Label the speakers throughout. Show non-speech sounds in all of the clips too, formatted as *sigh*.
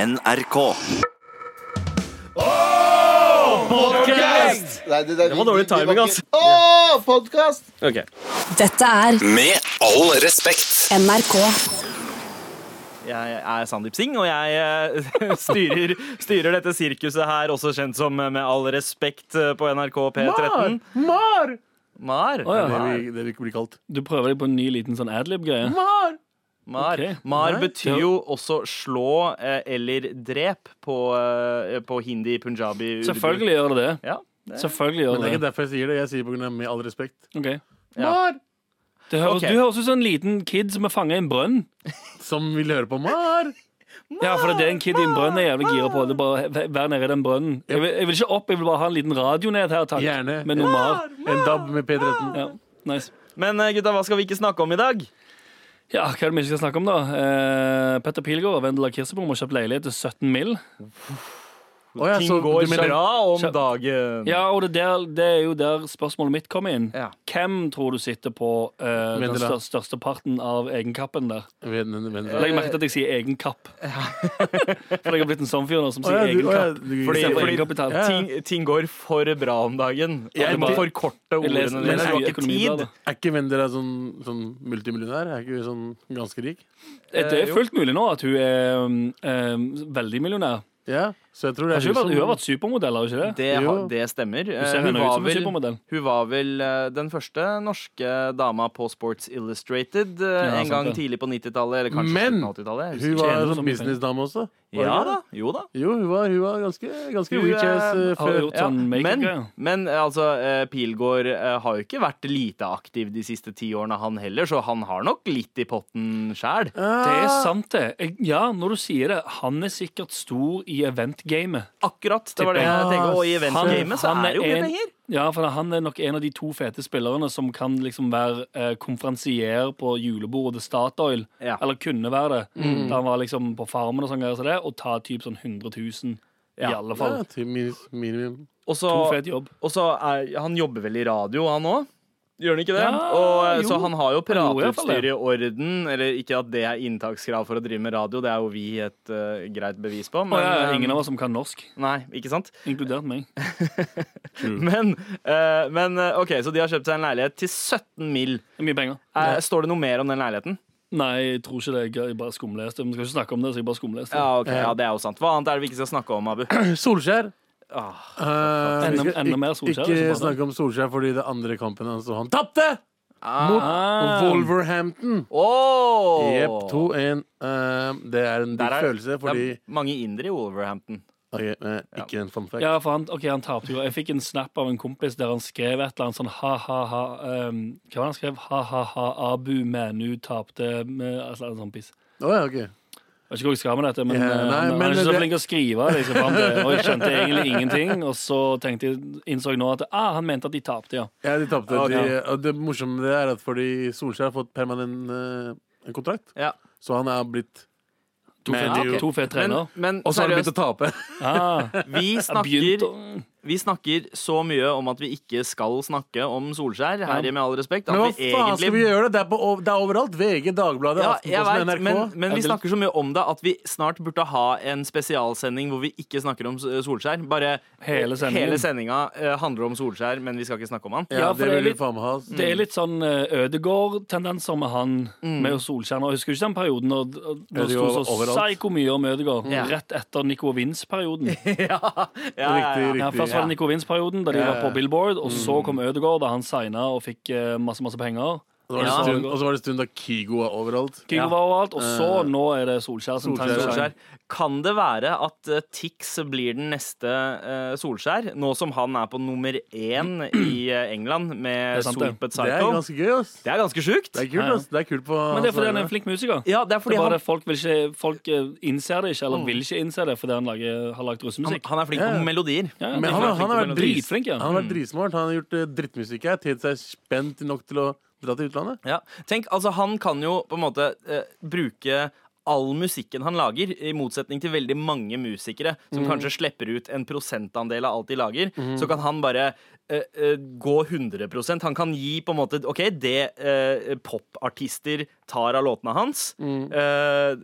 Speaker 1: NRK.
Speaker 2: Nei, det, det,
Speaker 3: var dårlig timing, altså.
Speaker 2: Åh, podcast!
Speaker 3: Ok.
Speaker 4: Dette er
Speaker 1: Med all respekt.
Speaker 4: NRK.
Speaker 3: Jeg er Sandeep Singh, og jeg eh, *laughs* styrer, styrer dette sirkuset her, også kjent som eh, Med all respekt eh, på NRK P13.
Speaker 5: Mar!
Speaker 3: Mar.
Speaker 5: Å, ja.
Speaker 3: Mar.
Speaker 5: det, vi, det vi blir kalt.
Speaker 6: Du prøver deg på en ny liten sånn adlib-greie.
Speaker 5: Mar!
Speaker 3: Mar.
Speaker 6: Ok.
Speaker 3: Mar
Speaker 6: Nei.
Speaker 3: betyr jo også slå eh, eller drep på, eh, på hindi, punjabi urdu.
Speaker 6: Selvfølgelig gjør det det.
Speaker 3: Ja.
Speaker 6: Selvfølgelig gjør
Speaker 5: Men det er
Speaker 6: det
Speaker 5: ikke
Speaker 6: det.
Speaker 5: derfor jeg sier det. Jeg sier på grunn av med all respekt.
Speaker 6: Ok.
Speaker 3: Ja.
Speaker 5: Mar!
Speaker 6: Det høres,
Speaker 3: Ok.
Speaker 6: Du høres ut som en liten kid som er fanga i en brønn.
Speaker 5: Som vil høre på Mar!
Speaker 6: Ja, for det er en kid i en brønn jeg er jævlig gira på. Det er bare v- Vær nede i den brønnen. Jeg vil, jeg vil ikke opp, jeg vil bare ha en liten radio ned her, takk.
Speaker 5: Gjerne.
Speaker 6: Med noe mar.
Speaker 5: En dab med P13.
Speaker 6: Ja, nice.
Speaker 3: Men eh, gutta, hva skal vi ikke snakke om i dag?
Speaker 6: Ja, hva er det vi ikke skal snakke om, da? Eh, Petter Pilgaard og Vendela Kirsebom har kjøpt leilighet til 17 mill.
Speaker 5: Å, ja,
Speaker 3: Ting
Speaker 5: så
Speaker 3: går
Speaker 5: du mener-
Speaker 3: bra om
Speaker 6: Kjapt.
Speaker 3: dagen.
Speaker 6: Ja, og det, der, det er jo der spørsmålet mitt kommer inn.
Speaker 3: Ja.
Speaker 6: Hvem tror du sitter på eh, den
Speaker 5: Vendela.
Speaker 6: stør- største parten av egenkappen der?
Speaker 5: Ven- ven- ven-
Speaker 6: Legg merke til at jeg sier egen kapp. For jeg har blitt en sånn fyr nå som
Speaker 5: Å,
Speaker 6: sier
Speaker 5: ja, du-
Speaker 6: egen
Speaker 5: å, ja,
Speaker 6: kapp.
Speaker 5: du-
Speaker 3: Fordi,
Speaker 6: Se på
Speaker 3: fordi
Speaker 6: egenkapital.
Speaker 5: Ja.
Speaker 3: ting, ting går for bra om dagen. Jeg
Speaker 6: Jeg
Speaker 3: må
Speaker 6: bare-
Speaker 3: forkorte
Speaker 6: Jeg leser-
Speaker 3: ordene dine.
Speaker 6: leser
Speaker 3: Du har ikke tid.
Speaker 6: Økonomibladet.
Speaker 5: Er ikke Vendela sånn, sånn multimillionær? Er ikke hun sånn ganske rik?
Speaker 6: Det
Speaker 3: Eh,
Speaker 6: er
Speaker 3: jo.
Speaker 6: fullt mulig nå at hun er um, veldig millionær.
Speaker 5: Ja, så jeg tror det er
Speaker 6: Har ikke hun, vært, hun
Speaker 5: som
Speaker 6: har vært supermodell, har hun ikke det?
Speaker 3: Det,
Speaker 5: Jo.
Speaker 3: har- det stemmer.
Speaker 6: Hun
Speaker 3: Eh,
Speaker 6: ser henne ut
Speaker 3: var
Speaker 6: som en
Speaker 3: vel-
Speaker 6: supermodell.
Speaker 3: Hun var vel eh, den første norske dama på Sports Illustrated eh, en
Speaker 6: sant
Speaker 3: gang
Speaker 6: det.
Speaker 3: tidlig på 90-tallet. Eller kanskje
Speaker 5: Men,
Speaker 3: slutten av 80-tallet. jeg husker
Speaker 5: Hun
Speaker 3: ikke.
Speaker 5: var
Speaker 6: tjener
Speaker 5: sånn
Speaker 6: så mye penger.
Speaker 5: businessdame også. Var
Speaker 3: Ja
Speaker 5: hun
Speaker 3: da.
Speaker 5: ikke
Speaker 3: Jo da.
Speaker 5: det? Jo, hun var, hun var ganske, ganske
Speaker 3: Hun,
Speaker 5: rich ass
Speaker 3: eh,
Speaker 5: eh,
Speaker 6: Har hun
Speaker 5: før.
Speaker 6: gjort sånn
Speaker 3: Men,
Speaker 6: makeup-greie?
Speaker 3: men eh, altså, eh, Pilgaard eh, har jo ikke vært lite aktiv de siste ti årene, han heller, så han har nok litt i potten sjæl.
Speaker 5: Eh,
Speaker 6: Det er sant, det. Jeg- Ja, når du sier det. Han er sikkert stor i event-gamet.
Speaker 3: Akkurat. Det var det jeg
Speaker 5: Tipper jeg.
Speaker 3: tenkte. Og i eventgamet så
Speaker 6: Han- han
Speaker 3: er det jo mye
Speaker 6: en-
Speaker 3: penger.
Speaker 6: Ja, for han er nok en av de to fete spillerne som kan liksom være eh, konferansier på julebordet til Statoil.
Speaker 3: Ja.
Speaker 6: Eller kunne være det. Da han var liksom på farmen og sånn, greier som det, og ta typ sånn 100 000. I
Speaker 3: Ja.
Speaker 6: alle fall.
Speaker 5: Ja, til minus- minimum.
Speaker 3: Og så,
Speaker 6: To fet jobb.
Speaker 3: og så er, han jobber vel i radio, han òg? Gjør han ikke det?
Speaker 6: Ja,
Speaker 3: og, eh,
Speaker 6: jo.
Speaker 3: så han har jo
Speaker 6: Han gjorde i hvert fall det.
Speaker 3: prateutstyr i orden. Eller ikke at det er inntakskrav for å drive med radio, det er jo vi et eh, greit bevis på.
Speaker 6: Og jeg er
Speaker 3: eh,
Speaker 6: ingen av oss som kan norsk,
Speaker 3: Nei, ikke sant?
Speaker 6: inkludert meg.
Speaker 3: Men, eh, men eh, OK, så de har kjøpt seg en leilighet til 17 mill.
Speaker 6: Det er mye penger.
Speaker 3: Eh, Står det noe mer om den leiligheten?
Speaker 6: Nei, jeg tror ikke det. Jeg bare skumleste. Vi skal ikke snakke om det, så jeg bare skumleste.
Speaker 3: Ja, ok, ja, det er jo sant. Hva annet er det vi ikke skal snakke om, Abu?
Speaker 6: *coughs*
Speaker 5: Solskjær.
Speaker 3: Ah,
Speaker 5: Eh, vi
Speaker 6: Enda-
Speaker 5: skal
Speaker 6: enda
Speaker 5: ikk-
Speaker 6: mer Solskjær,
Speaker 5: Ikke
Speaker 6: liksom, bare.
Speaker 5: snakke om Solskjær, fordi det andre kampen hans og han tapte! Mot
Speaker 3: Ehm,
Speaker 6: Ah.
Speaker 5: Wolverhampton.
Speaker 3: Åh!
Speaker 5: Jepp, 2-1. Eh, det er en
Speaker 3: Der
Speaker 5: digg
Speaker 3: er-
Speaker 5: følelse, fordi
Speaker 3: Det er mange indere i Wolverhampton.
Speaker 5: Ok, eh, Ikke en fun fact.
Speaker 6: Ja, for han, ok, han tapte jo. Jeg fikk en snap av en kompis der han skrev et eller annet sånn ha-ha-ha ehm, Hva var det han skrev? Ha-ha-ha, Abu Manu tapte med altså, en sånn piss.
Speaker 5: Å, ja, ok.
Speaker 6: Jeg vet ikke hvor jeg skal med dette, men,
Speaker 5: Ja,
Speaker 6: eh,
Speaker 5: nei,
Speaker 6: han,
Speaker 5: men
Speaker 6: han er ikke så
Speaker 5: det-
Speaker 6: flink til å skrive. Liksom, for han ble- og jeg skjønte egentlig ingenting, og så tenkte jeg, innså jeg nå at ah, han mente at de tapte, ja.
Speaker 5: Ja, de tapte.
Speaker 3: Ok.
Speaker 5: De, og det morsomme med det er at fordi Solskjær har fått permanent eh, en kontrakt,
Speaker 3: Ja.
Speaker 5: så han er blitt
Speaker 6: To
Speaker 5: Men det er jo-
Speaker 6: fet- to fet trenere.
Speaker 3: men
Speaker 5: Og så har han begynt
Speaker 3: seriøst,
Speaker 5: å tape. *laughs*
Speaker 6: Ah, *laughs*
Speaker 3: vi
Speaker 6: begynt
Speaker 3: snakker,
Speaker 6: å-
Speaker 3: vi snakker så mye om at vi ikke skal snakke om Solskjær, her i Med all respekt. At
Speaker 5: Men hva
Speaker 3: vi
Speaker 5: faen skal vi
Speaker 3: egentlig
Speaker 5: gjøre? Det er, på, ov- det er overalt. VG, Dagbladet,
Speaker 3: ja, jeg vet,
Speaker 5: Aftenposten, NRK.
Speaker 3: men, men vi
Speaker 6: Jeg vil-
Speaker 3: snakker så mye om det at vi snart burde ha en spesialsending hvor vi ikke snakker om eh, Solskjær. Bare
Speaker 6: Hele sendingen.
Speaker 3: hele sendinga eh, handler om Solskjær, men vi skal ikke snakke om han.
Speaker 5: ja,
Speaker 6: Ja, for
Speaker 5: det
Speaker 6: det er
Speaker 5: vil vi
Speaker 6: litt-
Speaker 5: faen meg ha. ass.
Speaker 6: Det er litt sånn eh, Ødegård-tendenser med han med Solskjær. nå. Jeg husker du ikke den perioden når det sto
Speaker 5: Ødegaard
Speaker 6: så
Speaker 5: overalt.
Speaker 6: psyko mye om Ødegård.
Speaker 3: Ja.
Speaker 6: Rett etter Nico
Speaker 5: *laughs*
Speaker 6: Wins-perioden.
Speaker 3: *laughs*
Speaker 5: Mm,
Speaker 3: Ja, ja, ja.
Speaker 6: Ja, først var det Nico Wins-perioden, da de
Speaker 5: Ja, Mm.
Speaker 6: var
Speaker 5: ja.
Speaker 6: på Billboard. Og så kom Ødegård, da han signa og fikk eh, masse masse penger.
Speaker 5: Og så var det
Speaker 3: Ja.
Speaker 5: stund- Og så var det stund da Kygo var overalt.
Speaker 6: Kygo
Speaker 3: Ja.
Speaker 6: var overalt, og så nå er det Solskjær som
Speaker 5: Eh, Solskjær.
Speaker 6: tar
Speaker 3: Solskjær.
Speaker 6: Solskjær.
Speaker 3: Kan det være at eh, Tix blir den neste eh, Solskjær, nå som han er på nummer én i eh, England med
Speaker 6: Det er sant, det.
Speaker 3: Solpet
Speaker 5: Det er
Speaker 3: Psycho?
Speaker 5: ganske gøy, ass.
Speaker 3: Det er ganske sjukt.
Speaker 5: Det er kult,
Speaker 6: Ja, ja.
Speaker 5: ass. Det er kult på
Speaker 6: Men det er fordi han er en flink musiker.
Speaker 3: Ja, det er
Speaker 6: Det
Speaker 3: fordi
Speaker 6: er bare
Speaker 3: han,
Speaker 6: det folk, vil ikke, folk eh, innser det ikke, eller
Speaker 5: Mm.
Speaker 6: vil ikke innse det fordi han lager, har lagd
Speaker 3: han,
Speaker 6: russemusikk.
Speaker 3: han er flink
Speaker 5: Ja,
Speaker 3: på
Speaker 5: ja.
Speaker 3: melodier.
Speaker 6: Ja,
Speaker 5: Men han, han,
Speaker 6: er
Speaker 5: har
Speaker 6: flink
Speaker 5: vært
Speaker 6: på melodi. dritflink. Ja.
Speaker 5: Han har vært dritsmart. Han har gjort eh, drittmusikk her. Tjent seg spent nok til å dra til utlandet.
Speaker 3: Ja. Tenk, altså Han kan jo på en måte eh, bruke all musikken han lager, i motsetning til veldig mange musikere som
Speaker 5: Mm.
Speaker 3: kanskje slipper ut en prosentandel av alt de lager. Så kan han bare eh, eh, gå 100 Han kan gi på en måte
Speaker 5: Mm.
Speaker 3: OK, det eh, popartister tar av låtene hans eh,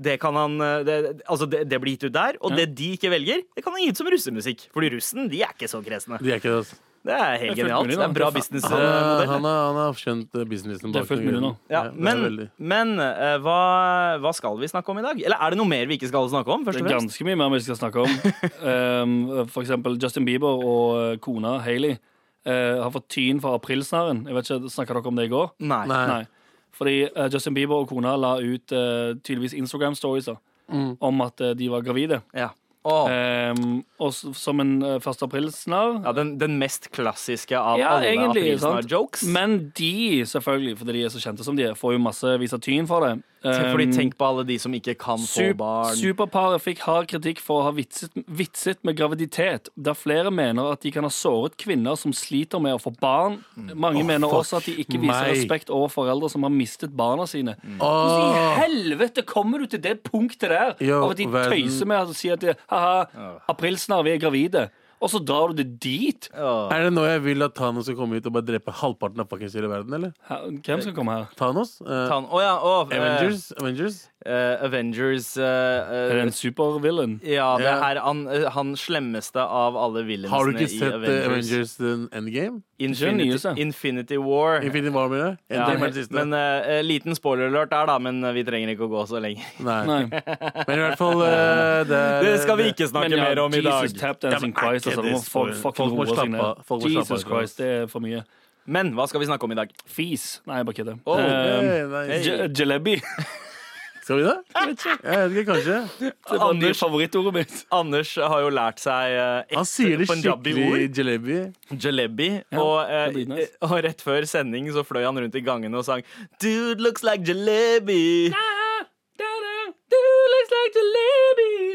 Speaker 3: det kan han eh, det, Altså, det, det blir gitt ut der. Og
Speaker 6: Ja.
Speaker 3: det de ikke velger, det kan han gi ut som russemusikk. Fordi russen, de er ikke så kresne.
Speaker 5: De er ikke det. altså.
Speaker 3: Det er helt
Speaker 6: Det er fullt
Speaker 3: genialt.
Speaker 6: mulig,
Speaker 3: Det er en bra eh,
Speaker 6: da.
Speaker 5: Han er-
Speaker 3: businessmodell.
Speaker 5: han er- han har skjønt eh, businessen
Speaker 6: Det er
Speaker 5: bak
Speaker 6: fullt mulig nå.
Speaker 3: Ja,
Speaker 5: det er
Speaker 3: men
Speaker 5: veldig.
Speaker 3: men eh, hva, hva skal vi snakke om i dag? Eller er det noe mer vi ikke skal snakke om?
Speaker 6: Det
Speaker 3: først
Speaker 6: er
Speaker 3: og fremst?
Speaker 6: ganske mye mer vi skal snakke *laughs* om. Um, for eksempel Justin Bieber og eh, kona Hailey eh, har fått tyn for aprilsnarren. Jeg vet ikke, Snakka dere om det i går?
Speaker 3: Nei.
Speaker 5: Nei.
Speaker 6: Nei. Fordi eh, Justin Bieber og kona la ut eh, tydeligvis Instagram-stories da, om at eh, de var gravide.
Speaker 3: Ja. Mm. Åh.
Speaker 6: Um, og s- som en eh, 1. aprilsnarr
Speaker 3: Ja, den, den mest klassiske av
Speaker 6: Ja,
Speaker 3: alle
Speaker 6: egentlig. Sant?
Speaker 3: aprilsnarr-jokes.
Speaker 6: Men de, selvfølgelig, fordi de er så kjente som de er, får jo massevis av tyn for det.
Speaker 3: Fordi
Speaker 6: Um,
Speaker 3: tenk på alle de som ikke kan få
Speaker 6: Sup-
Speaker 3: barn.
Speaker 6: Superparet fikk hard kritikk for å ha vitset, vitset med graviditet, der flere mener at de kan ha såret kvinner som sliter med å få barn. Mange mener også at de ikke viser
Speaker 5: meg. Mm.
Speaker 6: respekt overfor foreldre som har mistet barna sine. Hvordan i
Speaker 5: Åh,
Speaker 6: helvete kommer du til det punktet der?
Speaker 5: Jo,
Speaker 6: av at de
Speaker 5: verden-
Speaker 6: tøyser med å si at de, haha, aprilsnarr, vi er gravide. Og så drar du det dit?
Speaker 3: Åh.
Speaker 5: er det nå jeg vil at Thanos skal komme hit og bare drepe halvparten av fuckings hele verden, eller?
Speaker 6: Hæ, Hvem skal komme her?
Speaker 5: Thanos? Eh,
Speaker 3: Tan- Å ja, og
Speaker 5: Avengers? Avengers?
Speaker 3: Avengers eh, eh,
Speaker 6: Er det en supervillain?
Speaker 3: Ja, det
Speaker 5: Ja.
Speaker 3: er han, eh, han slemmeste av alle
Speaker 5: Har du
Speaker 3: villainsene
Speaker 5: ikke
Speaker 3: i
Speaker 5: sett eh, Avengers eh, Endgame?
Speaker 6: Ikke
Speaker 3: Infinity,
Speaker 6: den nyeste.
Speaker 3: Infinity War.
Speaker 5: Infinity War, mener du?
Speaker 3: Ja,
Speaker 5: Endgame er det siste.
Speaker 3: men eh, eh, Liten spoiler-alert der, da, men eh, vi trenger ikke å gå så lenge.
Speaker 6: *laughs*
Speaker 5: Nei.
Speaker 6: Nei.
Speaker 5: Men i hvert fall eh, det,
Speaker 3: Det skal vi ikke snakke
Speaker 6: Men ja,
Speaker 3: mer om i
Speaker 6: Jesus
Speaker 3: dag.
Speaker 6: tap dancing
Speaker 5: Ja, men er
Speaker 6: Christ,
Speaker 5: ikke
Speaker 6: altså,
Speaker 5: det
Speaker 6: må folk,
Speaker 5: spoil-
Speaker 6: fucking
Speaker 5: folk må
Speaker 6: roe seg
Speaker 5: slappe av-
Speaker 6: ned.
Speaker 5: folk må slappe
Speaker 6: Jesus
Speaker 5: av, tror jeg.
Speaker 6: Christ, det er for mye.
Speaker 3: Men hva skal vi snakke om i dag?
Speaker 6: Fis. Nei, jeg bare kødder.
Speaker 3: Oh,
Speaker 6: Eh,
Speaker 5: Hey, nei.
Speaker 6: Je- Jalebi.
Speaker 5: Skal vi det? Jeg vet ikke, Jeg vet ikke kanskje.
Speaker 6: Det var
Speaker 3: Anders-
Speaker 6: Anders. favorittordet *laughs* mitt.
Speaker 3: Anders har jo lært seg eh,
Speaker 5: Han
Speaker 3: ett
Speaker 5: sier det
Speaker 3: punjabi-ord.
Speaker 5: skikkelig jalebi.
Speaker 3: Jalebi.
Speaker 6: Ja,
Speaker 3: og,
Speaker 6: det blir
Speaker 3: eh,
Speaker 6: nice.
Speaker 3: og rett før sending så fløy han rundt i gangene og sang Dude looks like jalebi.
Speaker 6: Ah,
Speaker 5: No,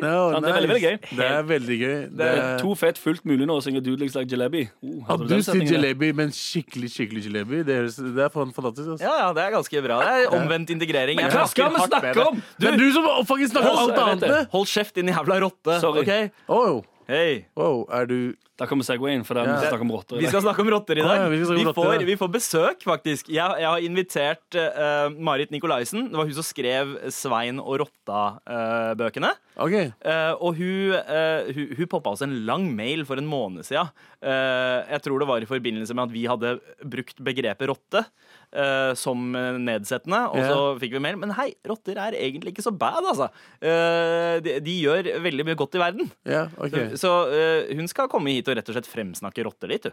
Speaker 6: Ja, Sånn, det er veldig, veldig gøy.
Speaker 5: Det er veldig gøy. Det
Speaker 6: Det er
Speaker 5: er,
Speaker 6: to fett fullt mulig nå å synge Dude looks like jalebi. Oh, hadde
Speaker 5: at du
Speaker 6: den
Speaker 5: sier
Speaker 6: setningen der?
Speaker 5: jalebi, men skikkelig skikkelig jalebi, det, høres- det er fan- fantastisk. Altså.
Speaker 3: Ja, ja, det er ganske bra. Det er omvendt integrering. Jeg
Speaker 6: Hva
Speaker 3: snakker
Speaker 6: skal vi
Speaker 3: hardt med
Speaker 6: snakke
Speaker 3: det.
Speaker 6: om?
Speaker 5: Det er du som faktisk snakker om alt
Speaker 6: Jeg vet
Speaker 5: annet!
Speaker 6: det.
Speaker 5: det.
Speaker 3: Hold kjeft, din jævla rotte.
Speaker 6: Sorry.
Speaker 3: ok?
Speaker 5: Oh,
Speaker 3: Hei.
Speaker 5: wow, er du
Speaker 6: Da kommer Segwayen, for det er vi
Speaker 5: Ja.
Speaker 6: skal snakke om rotter.
Speaker 3: Vi skal snakke om rotter i dag.
Speaker 5: Ah, ja, vi
Speaker 3: vi,
Speaker 5: skal snakke om rotter,
Speaker 3: får,
Speaker 5: ja.
Speaker 3: vi får besøk, faktisk. Jeg, jeg har invitert eh, Marit Nikolaisen. Det var hun som skrev Svein og rotta-bøkene.
Speaker 5: OK.
Speaker 3: Eh, og hun, eh, hun, hun poppa oss en lang mail for en måned siden. Eh, jeg tror det var i forbindelse med at vi hadde brukt begrepet rotte eh, som eh, nedsettende. Og så
Speaker 5: Ja.
Speaker 3: fikk vi mail. Men hei, rotter er egentlig ikke så bad, altså. Eh, de, de gjør veldig mye godt i verden.
Speaker 5: Ja, ok
Speaker 3: Så eh, hun skal komme hit og rett og slett fremsnakke rotter litt, du.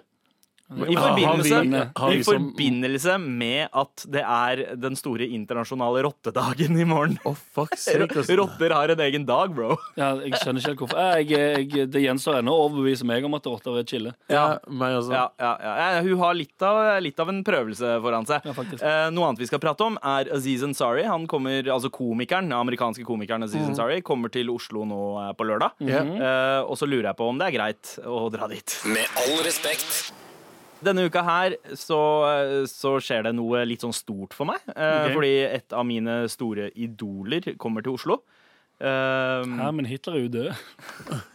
Speaker 3: I
Speaker 5: har vi-
Speaker 3: forbindelse,
Speaker 5: har vi
Speaker 3: I
Speaker 5: som-
Speaker 3: forbindelse med at det er den store internasjonale rottedagen i morgen.
Speaker 5: Å,
Speaker 6: *laughs*
Speaker 5: fuck sake. ass.
Speaker 3: Rotter har en egen dag, bro.
Speaker 6: Ja, jeg skjønner ikke helt hvorfor. Eh, Jeg, jeg, det gjenstår ennå å overbevise meg om at rotter er chille.
Speaker 5: Ja, meg også.
Speaker 3: Ja, ja, ja. Eh, Hun har litt av, litt av en prøvelse foran seg.
Speaker 6: Ja, faktisk.
Speaker 3: eh, noe annet vi skal prate om, er Aziz Ansari. Han kommer, altså komikeren, den amerikanske komikeren Aziz
Speaker 5: Mm.
Speaker 3: Ansari kommer til Oslo nå eh, på lørdag.
Speaker 5: Ja.
Speaker 3: Eh, og så lurer jeg på om det er greit å dra dit.
Speaker 1: Med all respekt.
Speaker 3: Denne uka her så, så skjer det noe litt sånn stort for meg. eh,
Speaker 6: Ok.
Speaker 3: Fordi et av mine store idoler kommer til Oslo. Um,
Speaker 6: Hæ, men Hitler er jo død.